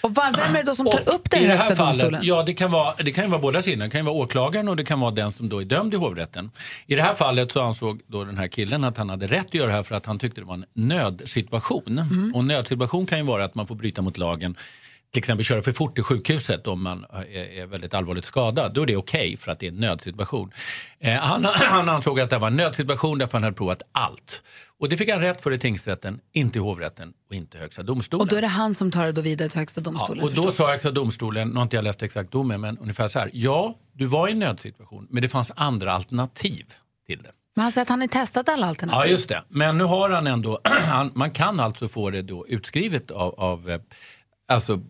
A: Och va- vem är det då som tar upp det
R: I
A: i
R: det
A: högsta
R: här fallet,
A: domstolen?
R: ja, det, kan vara, det kan ju vara båda sidorna. Det kan ju vara åklagaren och det kan vara den som då är dömd i hovrätten. I det här fallet så ansåg då den här killen att han hade rätt att göra det här för att han tyckte det var en nödsituation.
V: Mm.
A: Mhm.
R: Och en nödsituation kan ju vara att man får bryta mot lagen. Till exempel köra för fort till sjukhuset om man är är väldigt allvarligt skadad. Då är det okej för att det är en nödsituation. Eh, han, han ansåg att det var en nödsituation därför han hade provat allt. Och det fick han rätt för i tingsrätten, inte i hovrätten och inte i högsta domstolen.
A: Och då är det han som tar det då vidare till högsta domstolen.
R: Ja, och då
A: förstås.
R: sa Högsta domstolen, nu har inte jag läst exakt domen, men ungefär så här. Ja, du var i en nödsituation, men det fanns andra alternativ till det.
A: Men han säger att han har testat alla alternativ.
R: Ja, just det. Men nu har han ändå, han, man kan alltså få det då utskrivet av, av eh, alltså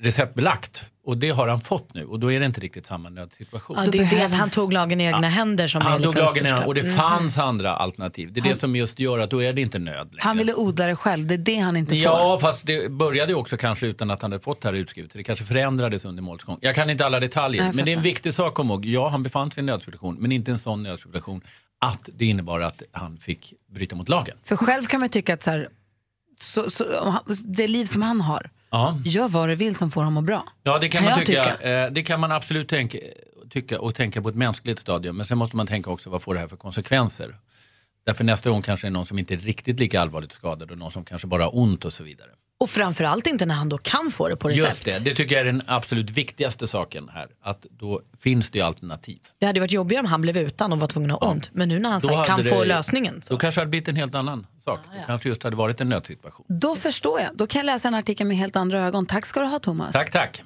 R: receptbelagt. Och det har han fått nu och då är det inte riktigt samma nödsituation.
B: Ja, det är det att han tog lagen i egna händer som är
R: han tog
B: liksom
R: lagen i hand
B: största.
R: och det
B: Mhm.
R: fanns andra alternativ. Det är det som just gör att då är det inte nöd längre.
A: Han ville odla det själv, det är det han inte får.
R: Ja, fast det började ju också kanske utan att han hade fått det här utskrivet. Det kanske förändrades under målets gång. Jag kan inte alla detaljer,
A: Nej, jag
R: men det är en
A: fattar.
R: viktig sak att komma ihåg. Ja, han befann sig i en nödsituation, men inte en sån nödsituation att det innebar att han fick bryta mot lagen.
A: För själv kan man ju tycka att så här, så, så, om han- det liv som han har,
R: Ja.
A: gör vad du vill som får honom att må bra.
R: Ja, det kan,
A: Kan
R: man
A: jag
R: tycka. Eh, Det kan man absolut tänka, tycka och tänka på ett mänskligt stadium. Men sen måste man tänka också vad får det här för konsekvenser? Därför nästa gång kanske det är någon som inte är riktigt lika allvarligt skadad och någon som kanske bara har ont och så vidare.
B: Och framförallt inte när han då kan få det på recept.
R: Just det, det tycker jag är den absolut viktigaste saken här. Att då finns det ju alternativ.
B: Det hade varit jobbigare om han blev utan och var tvungen att ha ont. Men nu när han så här
R: hade
B: kan få
R: det-
B: lösningen.
R: Då kanske det hade blivit en helt annan sak. Det kanske just hade varit en nödsituation.
A: Då förstår jag, då kan jag läsa den här artikeln med helt andra ögon. Tack ska du ha Thomas.
B: Alltså.
R: Tack, tack.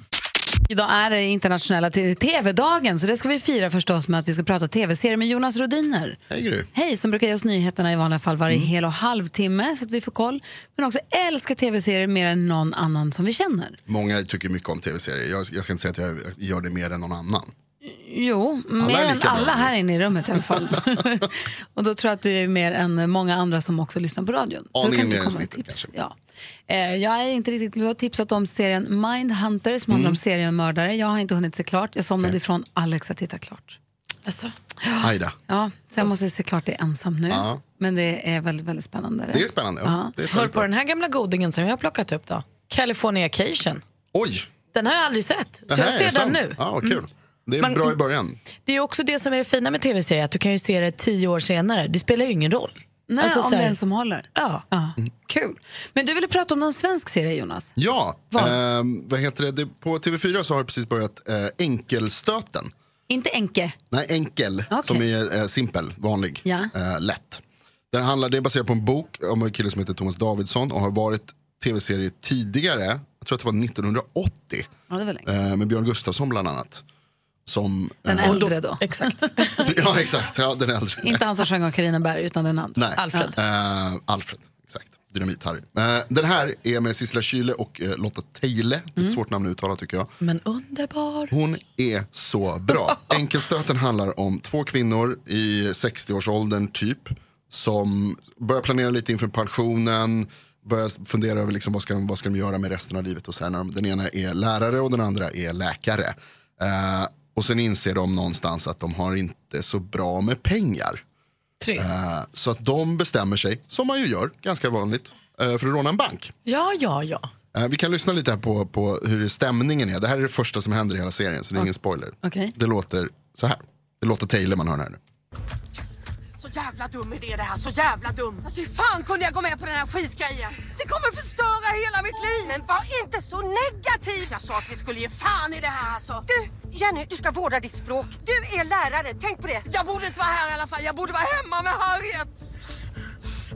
A: Idag är det internationella t- tv-dagen så det ska vi fira förstås med att vi ska prata tv-serier med Jonas Rodiner.
F: Hej Gry.
A: Hej, som brukar ge oss nyheterna i vanliga fall varje hel och halvtimme så att vi får koll. Men också älskar tv-serier mer än någon annan som vi känner.
F: Många tycker mycket om tv-serier. Jag, jag ska inte säga att jag gör det mer än någon annan.
A: Jo,
F: Alla
A: mer
F: är
A: än
F: lika bra.
A: alla här inne i rummet i alla fall. och då tror jag att du är mer än många andra som också lyssnar på radion. Så då
F: Aningen
A: kan du
F: mer än
A: komma med
F: snittet
A: tips. Ja. Eh, jag är inte riktigt, du har tipsat om serien Mindhunter som
F: Mm.
A: handlar om seriemördare. Jag har inte hunnit se klart. Jag somnade ifrån Alex att titta klart.
F: Ajda.
A: Ja, så jag måste se klart det ensam nu.
F: Ja.
A: Men det är väldigt, väldigt spännande.
F: Det är spännande. Ja. Det är
B: Hör på den här gamla godingen som jag har plockat upp då. Californication.
F: Oj!
B: Den har jag aldrig sett. Så
F: Det här
B: jag
F: är
B: ser den
F: sant.
B: nu.
F: Ja, vad kul.
B: Mm.
F: Det är
B: Man-
F: bra i början.
B: Det är också det som är det fina med tv-serier, att du kan ju se det tio år senare. Det spelar ju ingen roll.
A: Nej,
B: Alltså,
A: om
B: så här-
A: det är en som håller.
B: Ja.
A: Kul. Men du ville prata om någon svensk serie, Jonas?
F: Ja,
A: Vad?
F: ehm, vad heter det? det? På TV4 så har det precis börjat eh, Enkelstöten.
A: Inte Enke?
F: Nej, enkel,
A: Okej.
F: som är eh, simpel, vanlig,
A: Ja.
F: eh, lätt. Den handlar, det är baserat på en bok om en kille som heter Thomas Davidsson och har varit tv-serie tidigare, jag tror att det var 1980,
A: Ja, det var länge.
F: eh, med Björn Gustafsson bland annat. Som,
A: Den
F: eh,
A: äldre då. Exakt.
F: Ja, exakt. Ja, den äldre.
A: inte han som sjöng av Carina Berg, utan den andra.
F: Nej.
A: Alfred.
F: Eh, Alfred, exakt. Dynamit-Harry. Eh, den här är med Sissela Kyle och eh, Lotta Teile. Det är ett svårt namn att uttala tycker jag.
B: Men underbar.
F: Hon är så bra. Enkelstöten handlar om två kvinnor i 60-årsåldern typ som börjar planera lite inför pensionen, börjar fundera över liksom vad, ska de, vad ska de göra med resten av livet. Och så här, när de, den ena är lärare och den andra är läkare. Eh, och sen inser de någonstans att de har inte så bra med pengar.
B: Trist.
F: Eh, så att de bestämmer sig, som man ju gör, ganska vanligt, eh, för att råna en bank.
B: Ja, ja, ja.
F: Eh, Vi kan lyssna lite här på, på hur stämningen är. Det här är det första som händer i hela serien, så det är ingen spoiler.
A: Okej.
F: Det låter så här. Det låter Taylor man hör här nu.
V: Så jävla dum idé det här, så jävla dum! Alltså hur fan kunde jag gå med på den här skitgrejen? Det kommer förstöra hela mitt liv! Men var inte så negativ! Jag sa att vi skulle ge fan i det här alltså! Du, Jenny, du ska vårda ditt språk. Du är lärare, tänk på det. Jag borde inte vara här i alla fall, jag borde vara hemma med Harriet.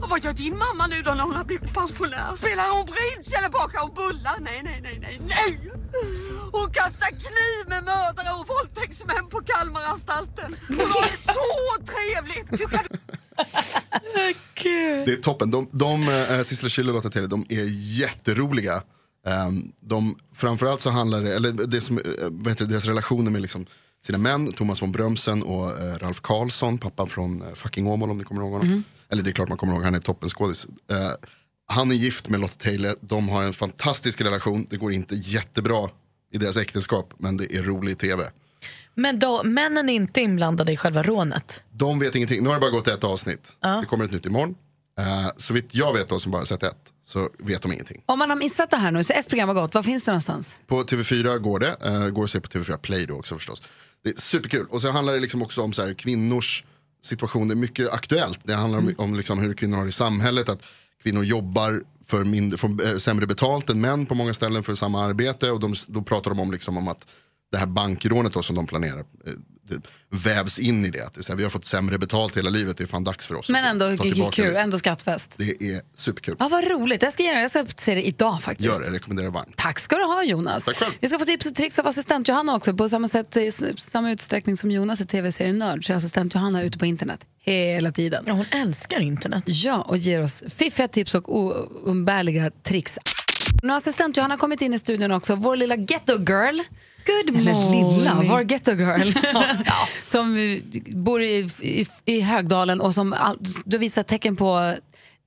V: Och vad gör din mamma nu då när hon har blivit pensionär? Spelar hon bridge eller bakar hon bullar? Nej, nej, nej, nej, nej! Hon kastar kniv med mördare och våldtäktsmän på Kalmaranstalten. Hon har det så trevligt! Hur kan
F: Det är toppen. De, de eh, Sissela Kyle och Lotta Tele, de är jätteroliga. Um, de, framförallt så handlar det, eller det som, eh, vad heter det, deras relationer med liksom sina män, Thomas von Brömsen och eh, Ralf Karlsson, pappan från eh, fucking Åmål om ni kommer ihåg honom.
W: Mhm.
F: Eller det är klart man kommer ihåg, han är toppenskådis. Eh, han är gift med Lotta Taylor, de har en fantastisk relation, det går inte jättebra i deras äktenskap men det är rolig tv.
B: Men då, männen är inte inblandade i själva rånet.
F: De vet ingenting. Nu har det bara gått ett avsnitt.
B: Ja.
F: Det kommer ett nytt imorgon. Uh, så vitt jag vet då som bara sett ett så vet de ingenting.
A: Om man har missat det här nu, så ett program var gott. Var finns det någonstans?
F: På TV4 går det. eh, går att se på TV4 Play då också förstås. Det är superkul. Och så handlar det liksom också om så här, kvinnors situation. Det är mycket aktuellt. Det handlar
A: Mm.
F: om, om liksom hur kvinnor har det i samhället. Att kvinnor jobbar för, mindre, för eh, sämre betalt än män på många ställen för samma arbete. Och de, då pratar de om, liksom, om att det här bankrånet då, som de planerar eh, det vävs in i det. Att det är så här, vi har fått sämre betalt hela livet. Det är fan dags för oss.
A: Men
F: att
A: ändå
F: ta tillbaka
A: kul,
F: det.
A: ändå skattfest.
F: Det är superkul.
A: Ja, vad roligt. Jag ska, göra, det. jag ska se det idag faktiskt.
F: Gör det, rekommenderar varmt.
A: Tack ska du ha Jonas. Vi ska få tips och tricks av assistent Johanna också. På samma, sätt, i s- samma utsträckning som Jonas är tv-serien Nörd så är assistent Johanna ute på internet hela tiden. Ja,
B: hon älskar internet.
A: Ja, och ger oss fiffiga tips och oumbärliga tricks. Nu har assistent Johanna kommit in i studion också. Vår lilla ghetto girl. Good Eller lilla,
H: morning.
A: vår ghetto girl. som eh, bor i, i, i Högdalen och som all, du visar tecken på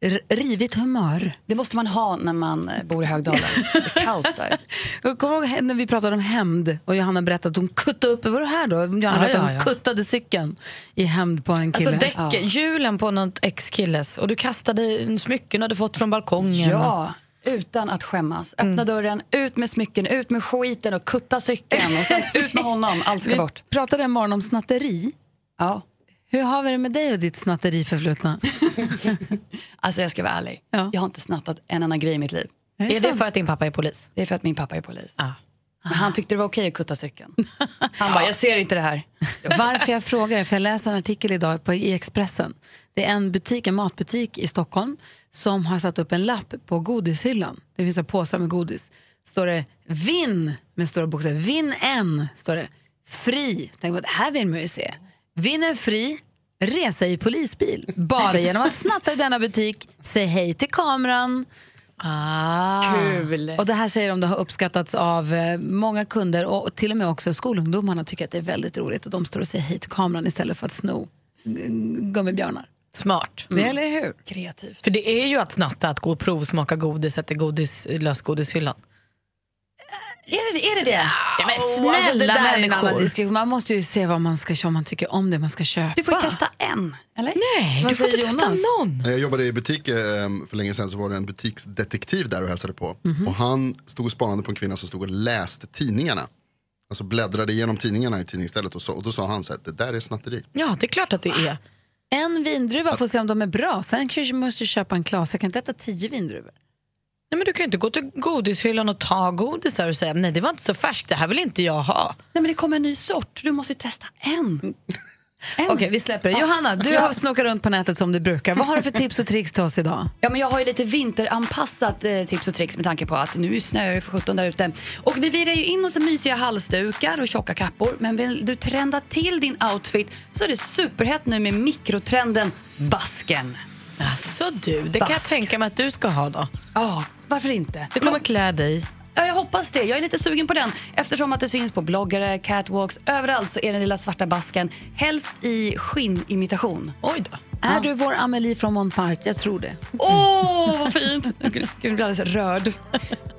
A: r- rivigt humör.
G: Det måste man ha när man eh, bor i Högdalen. Det är kaos där.
A: Jag kommer ihåg när vi pratade om hämnd och Johanna berättade att hon kuttade upp, var det här då? Johanna
G: Ja,
A: berättade att
G: ja,
A: hon
G: ja.
A: kuttade cykeln i hämnd på en kille.
B: Alltså däck, hjulen på något ex-killes och du kastade en smycken du hade fått från balkongen.
G: Ja, utan att skämmas. Öppna dörren, ut med smycken, ut med skiten och kutta cykeln. Och sen ut med honom, allt ska
A: Vi
G: bort.
A: pratade en morgon om snatteri.
G: Ja.
A: Hur har vi det med dig och ditt snatteri förflutna?
G: Alltså jag ska vara ärlig, jag har inte snattat en enda grej i mitt liv.
A: Är det Är det sant? för
G: att din pappa är polis? Det är för att min pappa är polis. Men han tyckte det var okej att kutta cykeln. Han bara, jag ser inte det här.
A: Varför jag frågar är för jag läser en artikel idag på, i Expressen. Det är en butik, en matbutik i Stockholm som har satt upp en lapp på godishyllan. Det finns en påsar med godis. Står det vinn med stora bokstäver. Vinn en, står det. Fri. Tänk på det här vill man ju se. Vinn en fri, resa i polisbil. Bara genom att snatta i denna butik, säg hej till kameran. Ah.
G: Kul.
A: Och det här säger de det har uppskattats av eh, många kunder och till och med också skolungdomarna tycker att det är väldigt roligt och de står och säger hej till kameran istället för att sno g- gummibjörnar.
B: Smart.
A: Mm. Eller hur?
G: Kreativt.
B: För det är ju att snatta att gå och provsmaka godis, att det är godis, lösgodishyllan.
A: Är det är det? det?
B: Ja, men
A: Oh,
B: snälla
A: alltså, det där är en annan
B: människor.
A: diskussion. Man måste ju se vad man ska köpa, om man tycker om det man ska köpa.
G: Du får ju testa en, eller?
A: Nej, Vad Eh, du får säger inte testa Jonas?
B: någon.
F: Jag jobbade i butik eh, för länge sedan så var det en butiksdetektiv där och hälsade på.
A: Mhm.
F: Och han stod och spanade på en kvinna som stod och läste tidningarna. Alltså bläddrade igenom tidningarna i tidningsstället och, så, och då sa han så här, det där är snatteri.
B: Ja, det är klart att det är.
A: En vindruva får se om de är bra. Sen kanske man måste köpa en klase. Jag kan inte äta tio vindruvor.
B: Nej, men du kan ju inte gå till godishyllan och ta godisar och säga nej det var inte så färskt, det här vill inte jag ha.
G: Nej, men det kommer en ny sort, du måste ju testa en.
A: Okej, vi släpper det.
G: Ja.
A: Johanna, du
G: Ja.
A: har snokat runt på nätet som du brukar. Vad har du för tips och tricks till oss idag?
G: Ja, men jag har ju lite vinteranpassat eh, tips och tricks med tanke på att nu snöar det för 17 där ute. Och vi virar ju in oss i mysiga halsdukar och tjocka kappor. Men vill du trenda till din outfit så är det superhett nu med mikrotrenden basken.
B: Alltså du, det kan jag tänka mig att du ska ha då.
X: Ja, varför inte?
B: Det kommer klä dig.
X: Ja, jag hoppas det. Jag är lite sugen på den. Eftersom att det syns på bloggare, catwalks, överallt så är den lilla svarta basken helst i Äh, skinnimitation.
B: Oj då.
A: Är du vår Amelie från Montmartre? Jag tror det.
X: Åh, vad fint! Gud, jag blir alldeles rörd.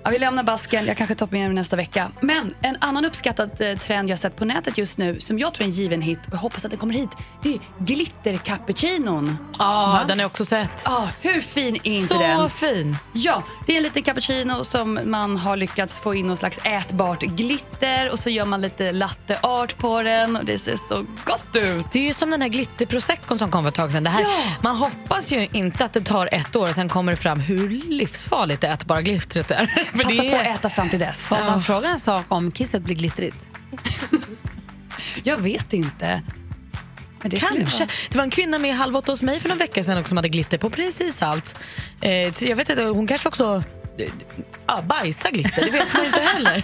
X: Ja, vi lämnar basken. Jag kanske tar med mig nästa vecka. Men en annan uppskattad eh, trend jag sett på nätet just nu som jag tror är en given hit och jag hoppas att den kommer hit, det är glittercappuccinon.
B: Ja, den har jag också sett.
X: Ja, hur fin är inte
B: Så
X: den?
B: fin.
X: Ja, det är en liten cappuccino som man har lyckats få in någon slags ätbart glitter och så gör man lite latte art på den och det ser så gott ut.
B: Det är ju som den här glitterproseccon som kom för ett tag sedan. Det här, Man hoppas ju inte att det tar ett år och sen kommer det fram hur livsfarligt det ätbara glittret är. För
X: Passa
B: det...
X: på att äta fram till dess.
A: Får man fråga en sak om kisset blir glittrigt?
X: jag vet inte. Men det skulle
B: Kanske.
X: vara-
B: Det var en kvinna med i Halv åtta hos mig för någon vecka sedan också som hade glitter på precis allt. Eh, så jag vet inte, hon kanske också eh, ja, bajsar glitter, det vet man ju inte heller.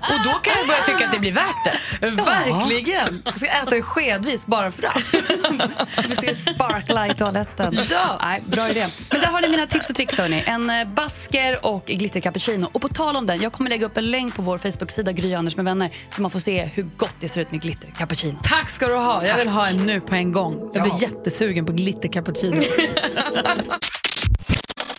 B: Och då kan jag börja tycka att det blir värt det.
A: Verkligen. Ska äta det skedvis bara för att.
X: Vi ser sparkla i toaletten.
A: Ja.
X: Nej, bra idé. Men där har ni mina tips och tricks. Hörrni. En eh, basker och glittercappuccino. Och på tal om den, jag kommer lägga upp en länk på vår Facebook-sida Gry Anders med vänner så man får se hur gott det ser ut med glittercappuccino.
A: Tack ska du ha. Jag vill ha en nu på en gång. Jag blir
X: Ja.
A: jättesugen på glittercappuccino.